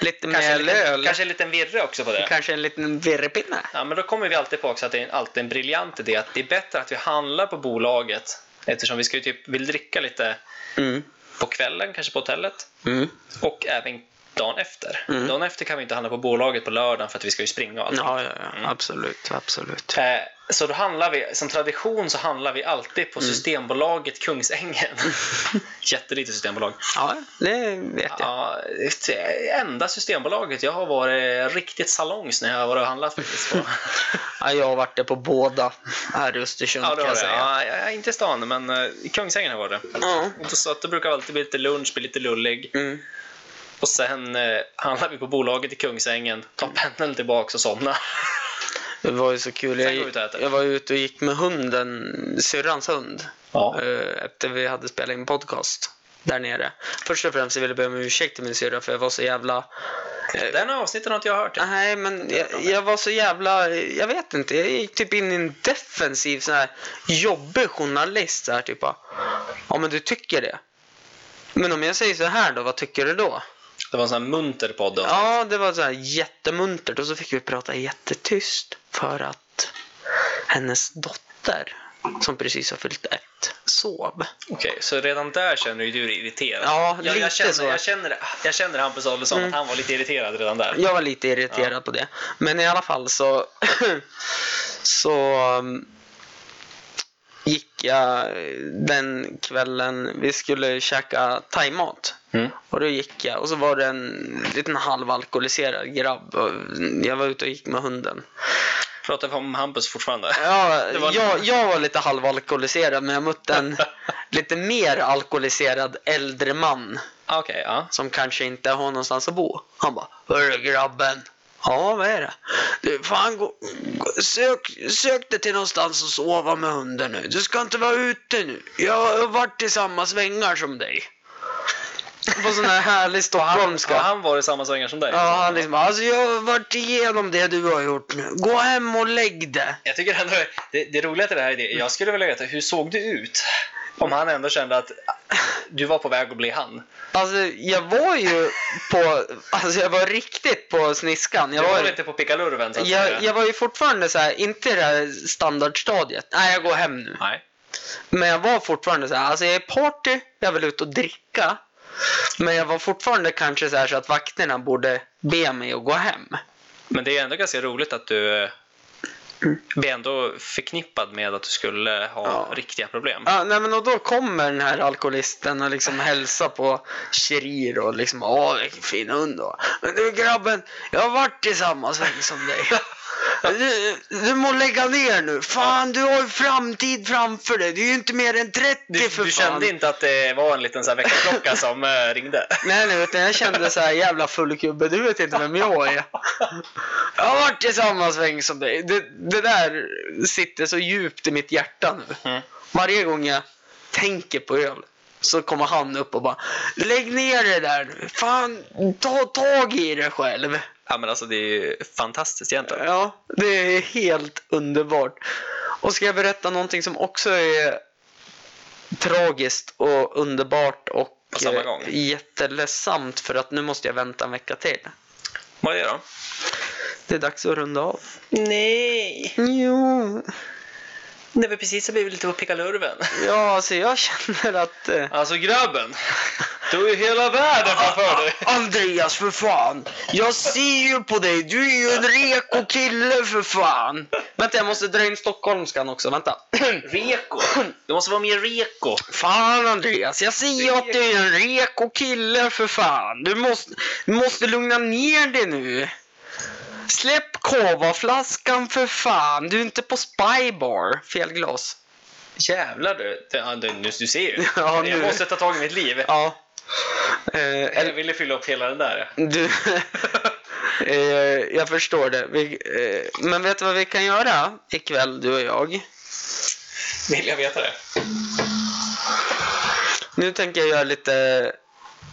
Lite
kanske,
mer
en liten,
öl.
kanske en liten virre också på det.
Kanske en liten virrepinne.
Ja, men då kommer vi alltid på också att det är alltid en briljant idé att det är bättre att vi handlar på bolaget eftersom vi ska ju typ, vill dricka lite
Mm.
på kvällen, kanske på hotellet
Mm.
och även dagen efter.
Mm.
Dagen efter kan vi inte handla på bolaget på lördagen för att vi ska ju springa och allt.
Ja, ja,
Mm.
ja. Absolut, absolut.
Eh, Så då handlar vi, som tradition så handlar vi alltid
Mm.
på
[laughs]
Systembolaget Kungsängen. Jättelitet systembolag.
Ja, det vet jag.
Ja, det enda Systembolaget jag har varit riktigt salongs när jag har varit och
[laughs]
handlat faktiskt. På.
Ja, jag har varit där på båda här i Östersund
ja, det
kan
har
jag
det.
säga.
Ja, jag är inte i stan, men eh, i Kungsängen har jag varit det.
Ja.
Och Så att det brukar alltid bli lite lunch, bli lite lullig.
Mm.
Och sen eh, handlar vi på bolaget i Kungsängen, tar pendeln tillbaka och somnar.
Det var ju så kul.
Sen
Jag,
går vi ut och äter.
jag var ute och gick med hunden, syrrans hund.
Ja.
eh, Efter vi hade spelat in podcast där nere. Först och främst så ville jag be om ursäkt till min syrra för jag var så jävla... Eh,
Den här avsnittet har inte jag hört.
Nej, men jag, jag var så jävla... Jag vet inte. Jag gick typ in i en defensiv sån här jobbig journalist. Så här, typ bara, ja, men du tycker det. Men om jag säger så här då, vad tycker du då?
Det var en sån här munter podd. då.
Ja, det var så här jättemuntert och så fick vi prata jättetyst för att hennes dotter som precis har fyllt ett sov.
Okej, så redan där känner du dig irriterad?
Ja,
jag,
lite
jag känner,
så. Mm.
Jag känner, jag känner Hampus Adolfsson, att han var lite irriterad redan där.
Jag var lite irriterad på det. Men i alla fall så [clears throat] så um, gick jag den kvällen vi skulle käka thaimat.
Mm.
Och då gick jag och så var det en liten halvalkoholiserad grabb. Och jag var ute och gick med hunden.
Pratar vi om Hampus fortfarande?
Ja,
Det var-
jag, jag var lite halvalkoholiserad men jag mötte
[laughs]
en lite mer alkoholiserad äldre man
Ah, Okej, ja.
som kanske inte har någonstans att bo. Han bara, hörru grabben. Ja, vad är det? Du, fan, gå, gå, sök, sök dig till någonstans och sova med hunden nu. Du ska inte vara ute nu. Jag har varit i samma svängar som dig. På sån här härlig stockholmska.
Har han varit i samma svängar som dig?
Ja, han liksom, alltså jag har varit igenom det du har gjort nu. Gå hem och lägg det.
Jag tycker ändå det, det roliga till det här är det, jag skulle vilja veta, hur såg du ut? Om han ändå kände att du var på väg att bli han.
Alltså jag var ju på, alltså jag var riktigt på sniskan.
Du
Jag
var alltså,
var,
lite på pickalurven så att säga.
jag, jag var ju fortfarande så här, inte i det här standardstadiet. Nej, jag går hem nu.
Nej.
Men jag var fortfarande så här, alltså jag är party, jag vill ut och dricka. Men jag var fortfarande kanske så här så att vakterna borde be mig att gå hem.
Men det är ändå ganska roligt att du eh, blir ändå förknippad med att du skulle ha
Ja.
riktiga problem.
Ja, nej men och då kommer den här alkoholisten och liksom hälsar på Shirir och liksom åh vilken fin hund då. Men du grabben, jag har varit i samma sväng som dig. Du, du må lägga ner nu. Fan du har ju framtid framför dig. Du är ju inte mer än 30
Du,
för
du
fan.
kände inte att det var en liten så här [laughs] väckarklocka som eh, ringde?
Nej nej utan jag kände så här jävla fullgubbe, du vet inte vem jag är. Jag har varit i samma sväng som dig. Det, det där sitter så djupt i mitt hjärta nu.
Mm.
Varje gång jag tänker på öl så kommer han upp och bara Lägg ner det där nu. Fan, ta tag i det själv.
Ja men alltså det är ju fantastiskt egentligen.
Ja, det är helt underbart. Och ska jag berätta någonting som också är tragiskt och underbart och
På samma
eh,
gång.
jätteledsamt för att nu måste jag vänta en vecka till.
Vad är det då?
Det är dags att runda av.
Nej!
Jo,
Det var precis som vi blev lite på pickalurven.
ja alltså jag känner att eh,
Alltså grabben! Du har ju hela världen framför dig!
Andreas för fan! Jag ser ju på dig, du är ju en reko kille för fan! Vänta jag måste dra in stockholmskan också, vänta.
Reko! Du måste vara mer reko!
Fan Andreas, jag säger ju att du är en reko kille för fan. Du måste, du måste lugna ner dig nu. Släpp kavaflaskan för fan. Du är inte på spybar. Fel glas.
Jävlar du! Det- ja, du, nu, du ser ju.
Ja, nu.
Jag måste ta tag i mitt liv.
Ja. Eh,
Jag
eller,
ville fylla upp hela den där.
du, [laughs] eh, jag förstår det. Vi, eh, men vet du vad vi kan göra ikväll, du och jag?
[laughs] Vill jag veta det?
Nu tänker jag göra lite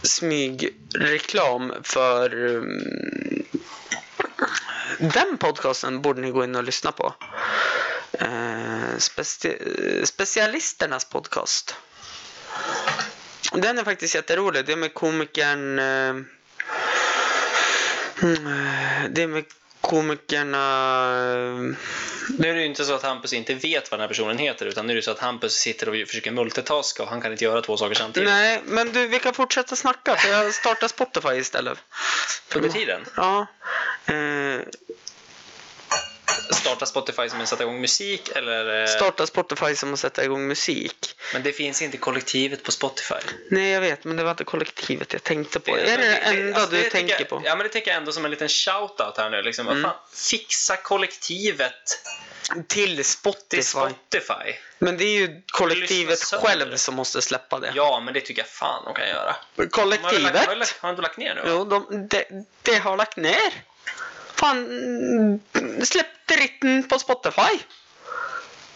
smygreklam för mm, den podcasten borde ni gå in och lyssna på. Eh, speci- eh, specialisternas podcast. Den är faktiskt jätterolig. Det är med komikern... eh, mm, Det är med eh, komikerna...
Nu är det ju inte så att Hampus inte vet vad den här personen heter utan nu är det så att Hampus sitter och försöker multitaska och han kan inte göra två saker samtidigt.
Nej, men du, vi kan fortsätta snacka för jag startar Spotify istället.
Under tiden
Ja. Eh,
starta Spotify som en sätta igång musik eller... eh,
starta Spotify som att sätta igång musik.
Men det finns inte kollektivet på Spotify.
Nej, jag vet, men det var inte kollektivet jag tänkte på. är det
men
det enda
alltså,
du
det tycker
tänker
jag,
på? Mm.
Ja, men det tänker jag ändå som en liten shout-out här nu. Liksom. Vad Fan, fixa kollektivet
Till Spotify.
till Spotify.
Men det är ju kollektivet
Lyssna sönder.
själv som måste släppa det.
Ja, men det tycker jag fan de kan göra. De har, väl lagt, har, väl
Kollektivet?
lagt, har de inte lagt ner nu? va?
Jo, de, de, de har lagt ner. Fan, mm, släpp dritten på Spotify.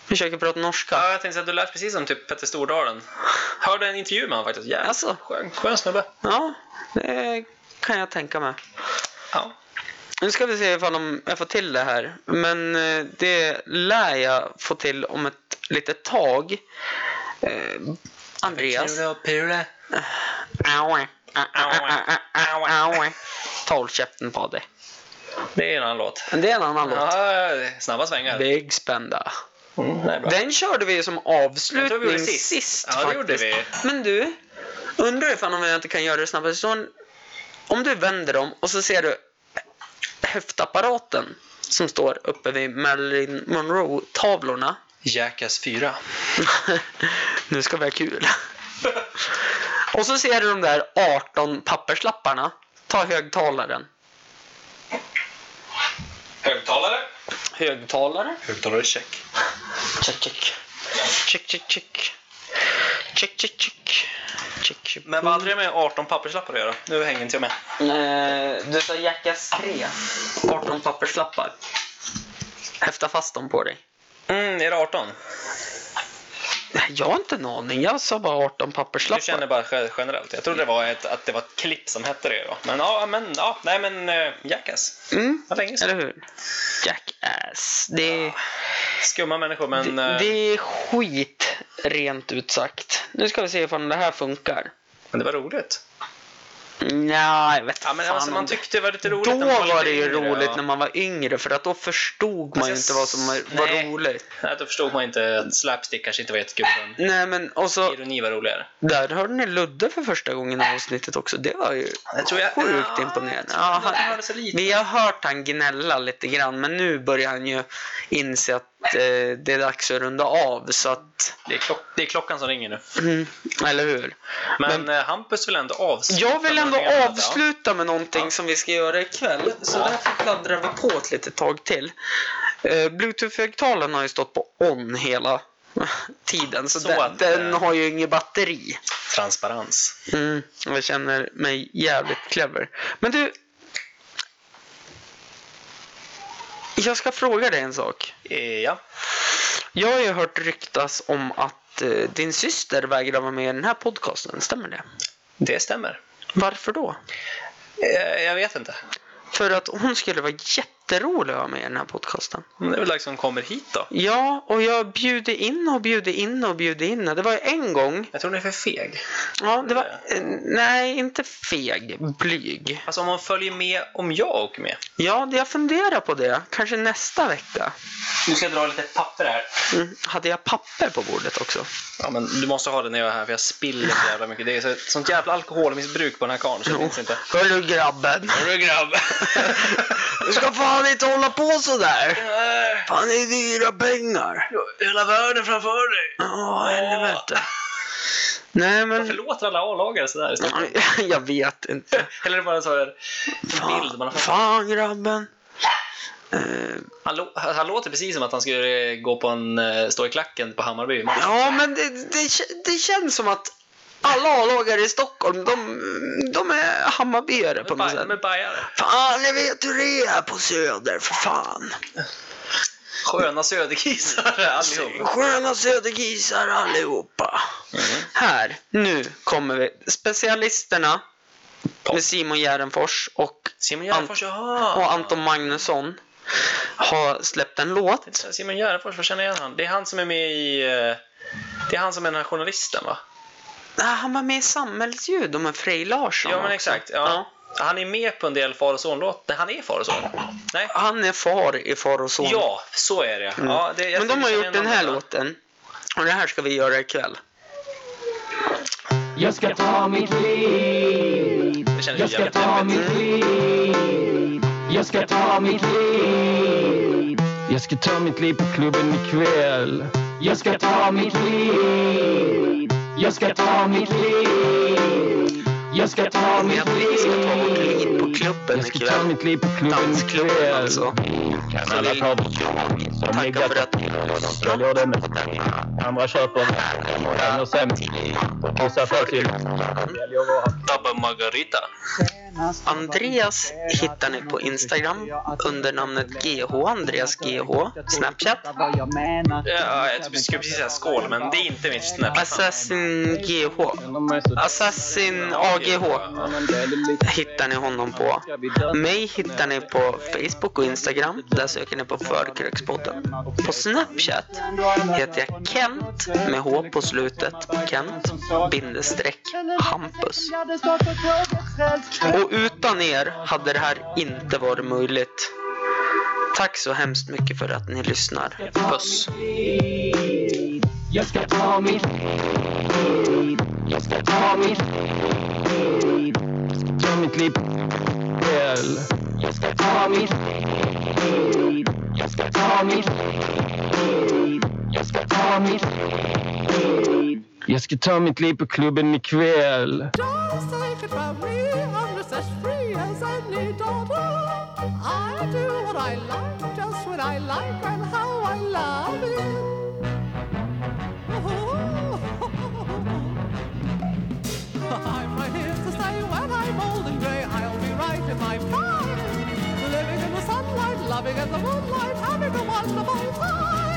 Försöker prata norska.
Ja, jag tänkte att du lät precis som typ Petter Stordalen. Hörde en intervju med honom faktiskt. Jävligt
Alltså.
skön, skön snubbe.
Ja, det kan jag tänka mig.
Ja.
Nu ska vi se ifall de- jag får till det här. Men eh, det lär jag få till om ett litet tag. Eh, Andreas.
Pure.
Aue. a- a- a- a- a- aue. Ta håll käften på dig.
Det är en annan låt.
Men det är en annan låt.
Ja, snabba svängar.
Big Spenda.
Mm, det är bra.
Den körde vi ju som
Jag tror vi
avslutning
gjorde
sist.
sist. Ja, det
faktiskt.
gjorde vi.
Men du, undrar ifall om jag inte kan göra det snabbare. Så en- om du vänder dem och så ser du höftapparaten som står uppe vid Marilyn Monroe-tavlorna. [laughs]
Jackass 4.
nu ska vi ha kul. och så ser du de där 18 papperslapparna. Ta högtalaren.
Högtalare.
Högtalare?
Högtalare check.
Check, check. Check, check, check. Check, check, check. check, check.
Men vad hade det med 18 papperslappar att göra? Nu hänger inte jag med.
Eh, du sa Jackass 3. 18 papperslappar. Häfta fast dem på dig.
Mm, är det 18?
Nej, Jag har inte en aning. Jag sa bara 18
Du
papperslappar.
känner bara ge- generellt. Jag trodde det var ett, att det var ett klipp som hette det då. Men ja, men ja, nej men eh, Jackass.
Mm,
Vad länge sedan.
eller hur? Jackass. Det,
Skumma människor men...
det,
eh,
det är skit, rent ut sagt. Nu ska vi se ifall det här funkar.
Men det var roligt.
Nej, jag vet
Ja, men
fan
alltså,
om
man
det-
tyckte det var lite roligt.
Då
när man lite
var det ju
yngre,
roligt
ja.
när man var yngre för att då förstod man ju inte
Alltså,
vad som var- var
nej.
roligt.
Nej, då förstod man inte att slapstick kanske inte var jättekul. Men
Nej men och så
ironi var roligare.
Där hörde ni Ludde för första gången i
Äh.
avsnittet också. Det var ju
Jag tror jag-
sjukt
Ja,
imponerande.
jag tror
Ja,
Ludde
han-
hörde så lite.
vi har hört han gnälla lite grann men nu börjar han ju inse att eh, det är dags att runda av. Så att,
Det är, klock, det är klockan som ringer nu.
mm, eller hur?
Men, eh, Hampus vill ändå avsluta.
Jag vill
med
ändå
någonting annat,
avsluta med någonting
Ja.
som vi ska göra ikväll. Så
Ja.
därför pladdrar vi på ett litet tag till. Eh, Bluetooth-högtalaren har ju stått på on hela tiden så,
Så
den,
att, eh,
den har ju inget batteri.
Ja. Transparens.
Mm, jag känner mig jävligt clever. Men du. Jag ska fråga dig en sak.
Eh, Ja.
Jag har ju hört ryktas om att eh, din syster vägrar vara med i den här podcasten. Stämmer det?
Det stämmer.
Varför då?
Eh, Jag vet inte.
För att hon skulle vara jätterolig att ha med i den här podcasten.
Men Det är väl dags som kommer hit då.
Ja, och jag bjuder in och bjuder in och bjuder in. Det var ju en gång.
Jag tror hon är för feg.
Ja, det var... eh, Nej, inte feg. Blyg.
Alltså om hon följer med om jag åker med.
Ja, det- jag funderar på det. Kanske nästa vecka.
Nu ska jag dra lite papper här.
Mm. Hade jag papper på bordet också?
Ja, men du måste ha det när jag är här för jag spiller så jävla mycket. Det är så, sånt jävla alkoholmissbruk på den här karln så det finns inte.
Hörru grabben,
Hörru grabb! [laughs]
du ska fan inte hålla på sådär. Fan det är dyra pengar.
Hela världen framför dig!
Ja, helvete. Nej
Varför
men,
låter alla A-lagare sådär istället?
[laughs] jag vet inte.
[laughs] Eller är det bara en sån här en bild man
Fan,
har fått?
fan grabben. Eh,
Han, lå- han låter precis som att han skulle eh, gå på en, eh, stå i klacken på Hammarby. Men-
Ja men det, det, kä- det känns som att alla A-lagare i Stockholm, de, de är Hammarbyare på
De
något
är,
sätt.
de är bajare.
Fan, jag vet hur det är på Söder, för fan. [laughs]
Sköna söderkisar allihop.
Sköna södergrisar allihopa. Här, nu kommer vi. Specialisterna med Simon Järnfors och,
Simon Gärdenfors, jaha!
och Anton Magnusson har släppt en låt.
Simon Gärdenfors, vad känner jag igen han? Det är han som är med i... eh, Det är han som är den här journalisten va?
Ah, Han var med i Samhällsljud och med Frej Larsson.
Ja men
också.
exakt. Ja. Han är med på en del far och son-låt. Nej, han är far och son. Nej.
Han är far i Far och son. Mm.
Ja, så är det. Ja, det jag
men de har
känner
gjort
igen
den här
namnen, va?
låten. Och det här ska vi göra ikväll.
Jag ska ta mitt liv
Det känner
Jag
jag
ska ta
jävligt
mitt liv Jag ska ta mitt liv Jag ska ta mitt liv på klubben ikväll Jag ska ta mitt liv Jag ska ta mitt liv Jag ska ta
Men jag
mitt
vi ska ta vårt liv
liv
på klubben
Jag ska ta
ikväll.
mitt liv på klubben
Dansklubben
ikväll
alltså.
Kan alla ta De
Tackar
ligger
för att ni
på- Jag gör det med andra köper ännu sämre. Vissa får till. Jag lovar att-
Dabba Margarita.
Andreas hittar ni på Instagram under namnet GH Andreas GH Snapchat
Ja, jag typ- skulle precis säga skål, men det är inte mitt snäpp.
Assassin GH Assassin AGH hittar ni honom på. Mig hittar ni på Facebook och Instagram. Där söker ni på Förkrökspodden. På Snapchat heter jag Kent med H på slutet. Kent bindestreck Hampus. Och utan er hade det här inte varit möjligt. Tack så hemskt mycket för att ni lyssnar. Puss!
Jag ska ta mitt liv. Jag ska ta mitt liv. Jag ska ta mitt liv. Väl. Jag ska ta mitt liv. Jag ska ta mitt liv. Jag ska ta mitt liv. Jag ska ta mitt liv på klubben ikväll.
Just take it from me, I'm just as free as any daughter. I do what I like, just what I like, and how I love it. [laughs] I'm right here to say when I'm old and grey, I'll be right in my prime. Living in the sunlight, loving in the moonlight, having a wonderful time.